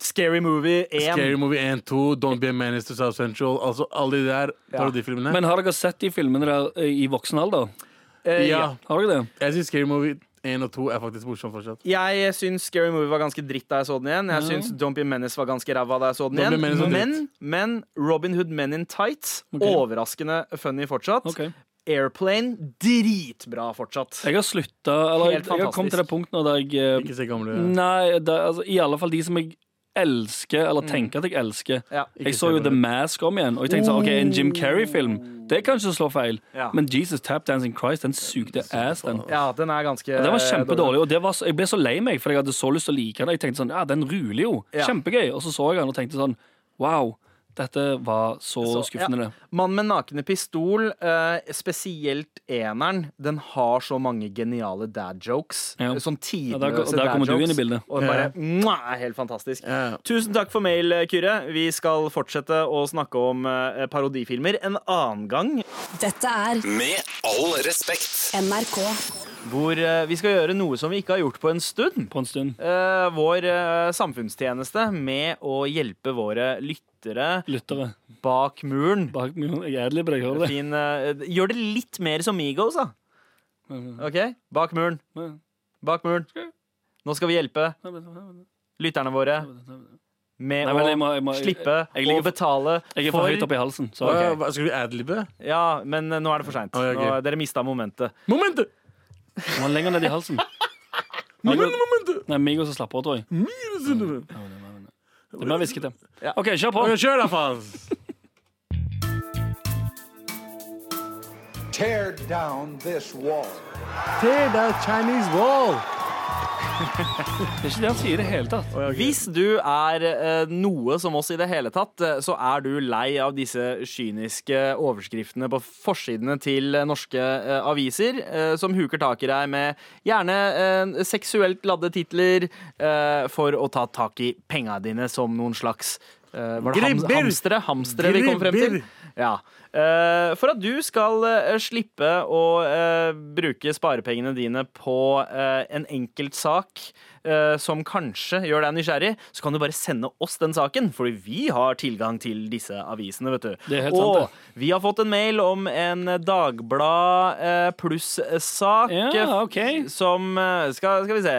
Speaker 3: Scary Movie 1.
Speaker 5: Scary Movie 1, 2, Don't Be a Menace to South Central. Altså alle de der parodifilmene.
Speaker 6: Men har dere sett de filmene der eh, i voksen alder?
Speaker 3: Eh,
Speaker 5: ja,
Speaker 6: Har dere det?
Speaker 5: jeg syns Scary Movie 1 og 2 er faktisk morsomt fortsatt.
Speaker 3: Jeg syns Scary Movie var ganske dritt da jeg så den igjen. Jeg syns Don't Be Menace var ganske ræva da jeg så den
Speaker 5: Don't Be Menace var
Speaker 3: igjen. Men, men Robin Hood Men in Tights, overraskende funny fortsatt.
Speaker 6: Ok.
Speaker 3: Airplane, dritbra fortsatt.
Speaker 6: Jeg har slutta Eller jeg,
Speaker 3: Helt
Speaker 6: jeg har kommet til det
Speaker 3: fantastisk.
Speaker 6: punktet nå der jeg eh,
Speaker 5: Ikke se gamle.
Speaker 6: Nei, det, altså, i alle fall de som jeg elsker, eller tenker at jeg elsker.
Speaker 3: Ja.
Speaker 6: Jeg så jo The Mask om igjen, og jeg tenkte sånn, ok, en Jim Carrey-film. Det kan ikke slå feil.
Speaker 3: Ja.
Speaker 6: Men Jesus Tap Dancing Christ, den sugde ass, den.
Speaker 3: Ja, den er ganske
Speaker 6: Den var kjempedårlig,
Speaker 3: dårlig.
Speaker 6: og det var, så- jeg ble så lei meg, for jeg hadde så lyst til å like den. Jeg tenkte sånn, ja, den ruler jo.
Speaker 3: Ja.
Speaker 6: Kjempegøy. Og så så jeg den og tenkte sånn, wow, dette var så
Speaker 3: Så, ja.
Speaker 6: skuffende, det.
Speaker 3: Mann med nakne pistol, eh, spesielt eneren, den har så mange geniale dad jokes.
Speaker 6: Ja.
Speaker 3: Sånn
Speaker 6: Ja, der-
Speaker 3: tidløse
Speaker 6: der
Speaker 3: dad jokes.
Speaker 6: kommer du inn i bildet.
Speaker 3: Og bare, mwah, er helt fantastisk.
Speaker 5: Ja.
Speaker 3: Tusen takk for mail, eh, Kyrre. Vi skal fortsette å snakke om eh, parodifilmer en annen gang.
Speaker 2: Dette er
Speaker 1: Med all respekt.
Speaker 2: NRK.
Speaker 3: Hvor eh, vi skal gjøre noe som vi ikke har gjort på en stund.
Speaker 6: På en stund.
Speaker 3: Eh, vår eh, samfunnstjeneste med å hjelpe våre lyttere
Speaker 6: Lyttere.
Speaker 3: bak muren.
Speaker 6: Bak, jeg er edelig på deg, hører du det?
Speaker 3: Fin, eh, gjør det litt mer som Migos, da.
Speaker 6: Mm.
Speaker 3: OK? Bak muren. Bak muren. Nå skal vi hjelpe lytterne våre med
Speaker 6: Nei, men
Speaker 3: å
Speaker 6: jeg må- jeg må- jeg-
Speaker 3: slippe å
Speaker 6: jeg ligger for-
Speaker 3: betale
Speaker 6: Jeg er for høyt
Speaker 3: for
Speaker 6: oppe i halsen. Så.
Speaker 5: Hva- hva- Skal vi adlibe?
Speaker 3: Ja, men eh, nå er det for seint.
Speaker 5: Å, ja, ok.
Speaker 3: Dere mista momentet.
Speaker 5: Momentet!
Speaker 6: Den var lenger ned i halsen.
Speaker 5: Moment, momentet!
Speaker 6: Nei, Migos er slappere, tror jeg. Det er mer hviskete.
Speaker 3: Ja.
Speaker 6: OK, kjør på.
Speaker 5: Ok, Kjør, da, faen!
Speaker 7: Tear down this wall.
Speaker 5: Tear down Chinese wall!
Speaker 6: Det er ikke det han sier i det hele tatt.
Speaker 3: Hvis du er eh, noe som oss i det hele tatt, eh, så er du lei av disse kyniske overskriftene på forsidene til eh, norske eh, aviser, eh, som huker tak i deg med gjerne eh, seksuelt ladde titler eh, for å ta tak i penga dine som noen slags eh, var det ham
Speaker 5: Gribber!
Speaker 3: hamstere? Hamstere vi kom frem til.
Speaker 5: Gribber!
Speaker 3: Ja. Eh, for at du skal eh, slippe å eh, bruke sparepengene dine på eh, en enkeltsak eh, som kanskje gjør deg nysgjerrig, så kan du bare sende oss den saken, fordi vi har tilgang til disse avisene, vet du.
Speaker 6: Det er helt
Speaker 3: Og
Speaker 6: sant,
Speaker 3: vi har fått en mail om en Dagblad eh, pluss-sak
Speaker 6: Ja, ok.
Speaker 3: som eh, skal, skal vi se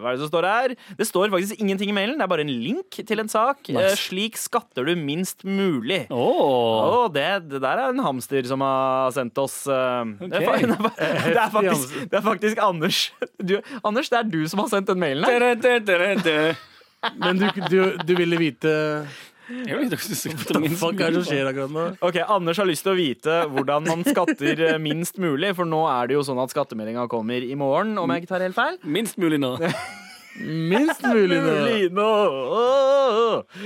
Speaker 3: Hva er det som står her? Det står faktisk ingenting i mailen. Det er bare en link til en sak.
Speaker 6: Nice.
Speaker 3: Eh, Slik skatter du minst mulig. Å,
Speaker 6: Åh.
Speaker 3: det, det der er en hamster som har sendt oss eh, det, er,
Speaker 6: Ok.
Speaker 3: fa- *laughs* det, er, fa- det, er faktisk, det er faktisk Anders. *laughs* Du, Anders, det er du som har sendt den mailen her.
Speaker 5: Men du, du, du ville vite
Speaker 6: Jeg vet ikke om du skal ta min
Speaker 5: Fuck, hva er det som skjer akkurat nå?
Speaker 3: Ok, Anders har lyst til å vite hvordan man skatter eh, minst mulig, for nå er det jo sånn at skattemeldinga kommer i morgen, om jeg ikke tar helt feil.
Speaker 6: Minst mulig nå.
Speaker 5: Minst mulig nå.
Speaker 3: Mulig nå. Åh.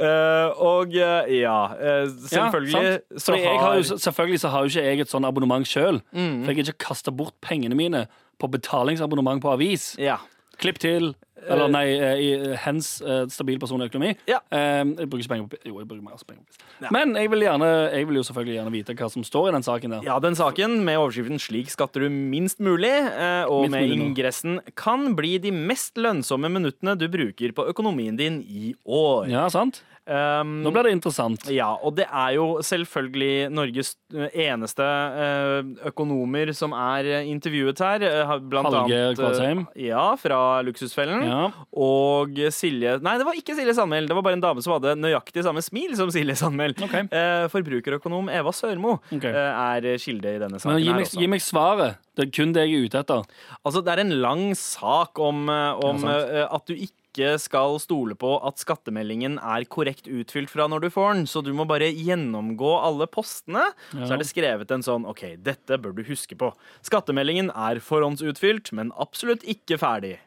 Speaker 3: Eh, og eh, ja, eh, selvfølgelig
Speaker 6: Ja, sant.
Speaker 3: så
Speaker 6: Fordi jeg har
Speaker 3: har Mm.
Speaker 6: jo, selvfølgelig så har jo ikke jeg et sånn abonnement sjøl. For jeg kan ikke kaste bort pengene mine på betalingsabonnement på avis.
Speaker 3: ja.
Speaker 6: Klipp til. Eller nei, eh, i- hens eh, stabil personlig økonomi.
Speaker 3: Ja.
Speaker 6: Eh, Jeg bruker ikke penger på Jo, jeg bruker masse penger på piss. Men jeg vil, gjerne, jeg vil jo selvfølgelig gjerne vite hva som står i den saken der.
Speaker 3: ja, den saken med overskriften 'Slik skatter du minst mulig', eh, og
Speaker 6: Minst
Speaker 3: med
Speaker 6: mulig nå.
Speaker 3: ingressen 'Kan bli de mest lønnsomme minuttene du bruker på økonomien din i år'.
Speaker 6: Ja, sant?
Speaker 3: Um,
Speaker 6: Nå blir det interessant.
Speaker 3: Ja, og det er jo selvfølgelig Norges eneste eh, økonomer som er eh, intervjuet her. eh, har Blant
Speaker 6: Hallgeir
Speaker 3: annet eh,
Speaker 6: Kvadsheim.
Speaker 3: Ja, fra Luksusfellen.
Speaker 6: Ja.
Speaker 3: Og Silje Nei, det var ikke Silje Sandmæl. Det var bare en dame som hadde nøyaktig samme smil som Silje Sandmæl.
Speaker 6: Ok.
Speaker 3: Eh, forbrukerøkonom Eva Sørmo
Speaker 6: Ok.
Speaker 3: eh, er kilde i denne saken.
Speaker 6: Men gi meg,
Speaker 3: her også.
Speaker 6: gi meg svaret. Det er kun det jeg er ute etter.
Speaker 3: Altså, det er en lang sak om, eh, om
Speaker 6: Ja,
Speaker 3: eh, at du ikke skal stole på at skattemeldingen er korrekt utfylt fra når du får den, så du må bare gjennomgå alle postene. Så
Speaker 6: Ja.
Speaker 3: er det skrevet en sånn OK, dette bør du huske på. Skattemeldingen er forhåndsutfylt, men absolutt ikke ferdig.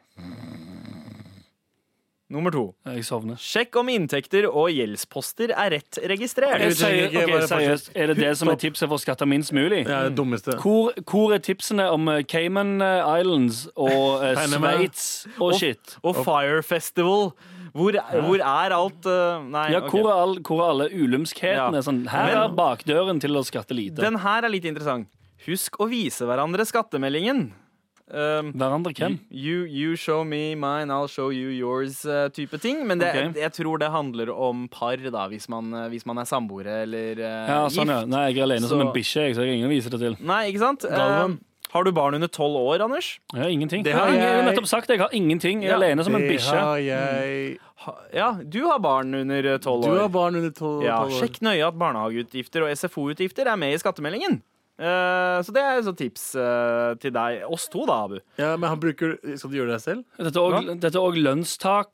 Speaker 3: Nummer to.
Speaker 6: Eh, Jeg sovner.
Speaker 3: Sjekk om inntekter og gjeldsposter er rett registrert.
Speaker 6: Jeg sier,
Speaker 5: ikke,
Speaker 6: ok,
Speaker 5: bare
Speaker 6: seriøst, er det det som er tipset for å skatte minst mulig?
Speaker 5: Det er det dummeste.
Speaker 6: Hvor, hvor er tipsene om eh, Cayman Islands og eh,
Speaker 5: Panama.
Speaker 6: Sveits og oh, shit?
Speaker 3: Og Fire Festival. Hvor, hvor er alt eh, Nei.
Speaker 6: Ja,
Speaker 3: ok.
Speaker 6: hvor er, all, hvor er alle ulumskhetene?
Speaker 3: Ja.
Speaker 6: Sånn, her er bakdøren til å skatte lite.
Speaker 3: Den her er litt interessant. Husk å vise hverandre skattemeldingen. Um,
Speaker 6: Hverandre hvem?
Speaker 3: You, you show me mine, I'll show you yours eh, type ting. Men det,
Speaker 6: Ok.
Speaker 3: jeg tror det handler om par, da, hvis man, eh, hvis man er samboere eller eh,
Speaker 6: Ja, sånn, ja.
Speaker 3: gift.
Speaker 6: Nei, jeg er alene som
Speaker 3: Så-
Speaker 6: en bikkje, jeg, så jeg har ingen å vise det til.
Speaker 3: Nei, ikke sant? Eh,
Speaker 5: Galvan.
Speaker 3: har du barn under tolv år, Anders?
Speaker 6: Jeg har ingenting.
Speaker 5: Det
Speaker 6: Jeg har
Speaker 5: har
Speaker 6: ingen- jeg har
Speaker 5: jeg.
Speaker 6: nettopp sagt det. Jeg har ingenting. Jeg er
Speaker 3: Ja.
Speaker 6: alene som en
Speaker 5: Det
Speaker 6: bikkje.
Speaker 5: har jeg
Speaker 3: Ha, ja, du har barn under eh, tolv
Speaker 5: Du
Speaker 3: år.
Speaker 5: har barn under tolv
Speaker 3: ja,
Speaker 5: tolv år.
Speaker 3: sjekk nøye at barnehageutgifter og SFO-utgifter er med i skattemeldingen. Eh, så det er et sånt tips eh, til deg. Oss to, da, Abu.
Speaker 5: Ja, men han bruker Skal du gjøre det selv?
Speaker 6: Dette er også- dette er òg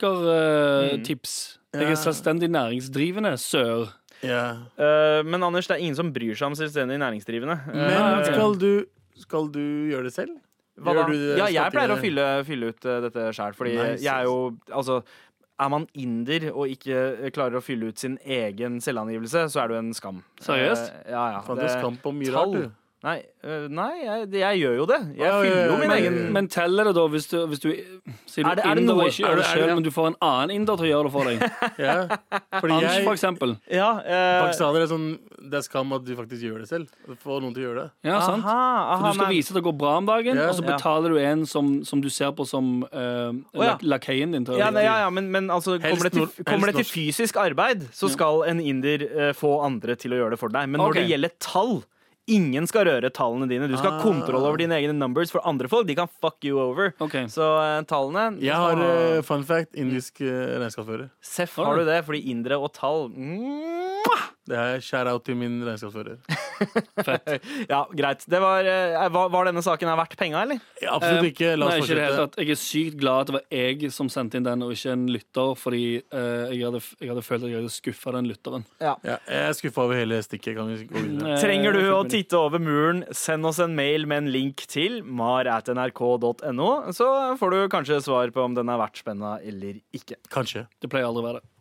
Speaker 3: Mm.
Speaker 6: lønnstakertips. Jeg er selvstendig næringsdrivende, sør.
Speaker 5: Ja.
Speaker 3: Eh, men Anders, det er ingen som bryr seg om selvstendig næringsdrivende. Eh,
Speaker 5: Men
Speaker 6: ok.
Speaker 5: skal du, skal du gjøre det selv?
Speaker 3: hva da?
Speaker 5: gjør du det
Speaker 3: Ja, jeg pleier å
Speaker 5: skattegreiene?
Speaker 3: fylle, fylle ut eh, dette sjøl, fordi
Speaker 5: Nei,
Speaker 3: jeg er jo Altså, er man inder og ikke eh, klarer å fylle ut sin egen selvangivelse, så er du en skam.
Speaker 6: Seriøst?
Speaker 3: Eh, ja, ja.
Speaker 5: Faen, du har skam på mye
Speaker 3: tall.
Speaker 5: rart, du.
Speaker 3: Nei, eh, nei jeg, jeg gjør jo det. Jeg
Speaker 5: Ja, ja,
Speaker 3: fyller
Speaker 5: ja,
Speaker 3: jo min
Speaker 5: men-
Speaker 3: egen
Speaker 6: Men teller det da hvis du, hvis du Sier du
Speaker 3: Er det- er det
Speaker 6: inder
Speaker 3: noe-
Speaker 6: og ikke gjør
Speaker 5: er det-
Speaker 6: det
Speaker 5: er det-
Speaker 6: sjøl, men du får en annen inder til å gjøre det for deg?
Speaker 5: Ja. Fordi
Speaker 6: Anders, for
Speaker 5: jeg
Speaker 6: eksempel.
Speaker 3: Ja, eh,
Speaker 5: Pakistanere er sånn Det er skam at du faktisk gjør det selv. Få noen til å gjøre det.
Speaker 6: Ja, sant?
Speaker 3: Aha,
Speaker 6: For
Speaker 3: aha,
Speaker 6: du skal
Speaker 3: nei.
Speaker 6: vise at det går bra om dagen,
Speaker 5: Ja.
Speaker 6: og så betaler du en som, som du ser på som uh,
Speaker 3: ja.
Speaker 6: lakeien din. Til, å
Speaker 3: ja,
Speaker 6: gjøre
Speaker 3: nei,
Speaker 6: det.
Speaker 3: ja, ja, men, men altså, kommer det,
Speaker 5: nor-
Speaker 3: til, kommer det til
Speaker 5: helst
Speaker 3: fysisk arbeid, så skal en inder eh, få andre til å gjøre det for deg. Men når
Speaker 6: Ok.
Speaker 3: det gjelder tall Ingen skal røre tallene dine. Du
Speaker 5: Ah.
Speaker 3: skal ha kontroll over dine egne numbers, for andre folk de kan fuck you over.
Speaker 6: Ok.
Speaker 3: Så eh, tallene
Speaker 5: Jeg har eh, fun fact indisk eh, regnskapsfører.
Speaker 3: mm. Seff, har du det? Fordi indere og tall mwah!
Speaker 5: Det her er shout-out til min
Speaker 6: *laughs*
Speaker 5: regnskapsfører.
Speaker 3: Ja, greit. Det var, eh, var, var denne saken her verdt penga, eller?
Speaker 5: Ja, absolutt ikke. La
Speaker 6: Eh, Nei,
Speaker 5: oss
Speaker 6: ikke i det hele
Speaker 5: fortsette.
Speaker 6: tatt. Jeg er sykt glad at det var jeg som sendte inn den, og ikke en lytter, fordi eh, jeg, hadde, jeg hadde følt at jeg hadde skuffa den lytteren.
Speaker 5: Ja, jeg er skuffa over hele stikket. Kan vi gå videre?
Speaker 3: Trenger du
Speaker 6: Eh,
Speaker 3: å titte over muren, send oss en mail med en link til mar.nrk.no, så får du kanskje svar på om den er verdt spenna eller ikke.
Speaker 5: Kanskje.
Speaker 6: Det pleier aldri å være det.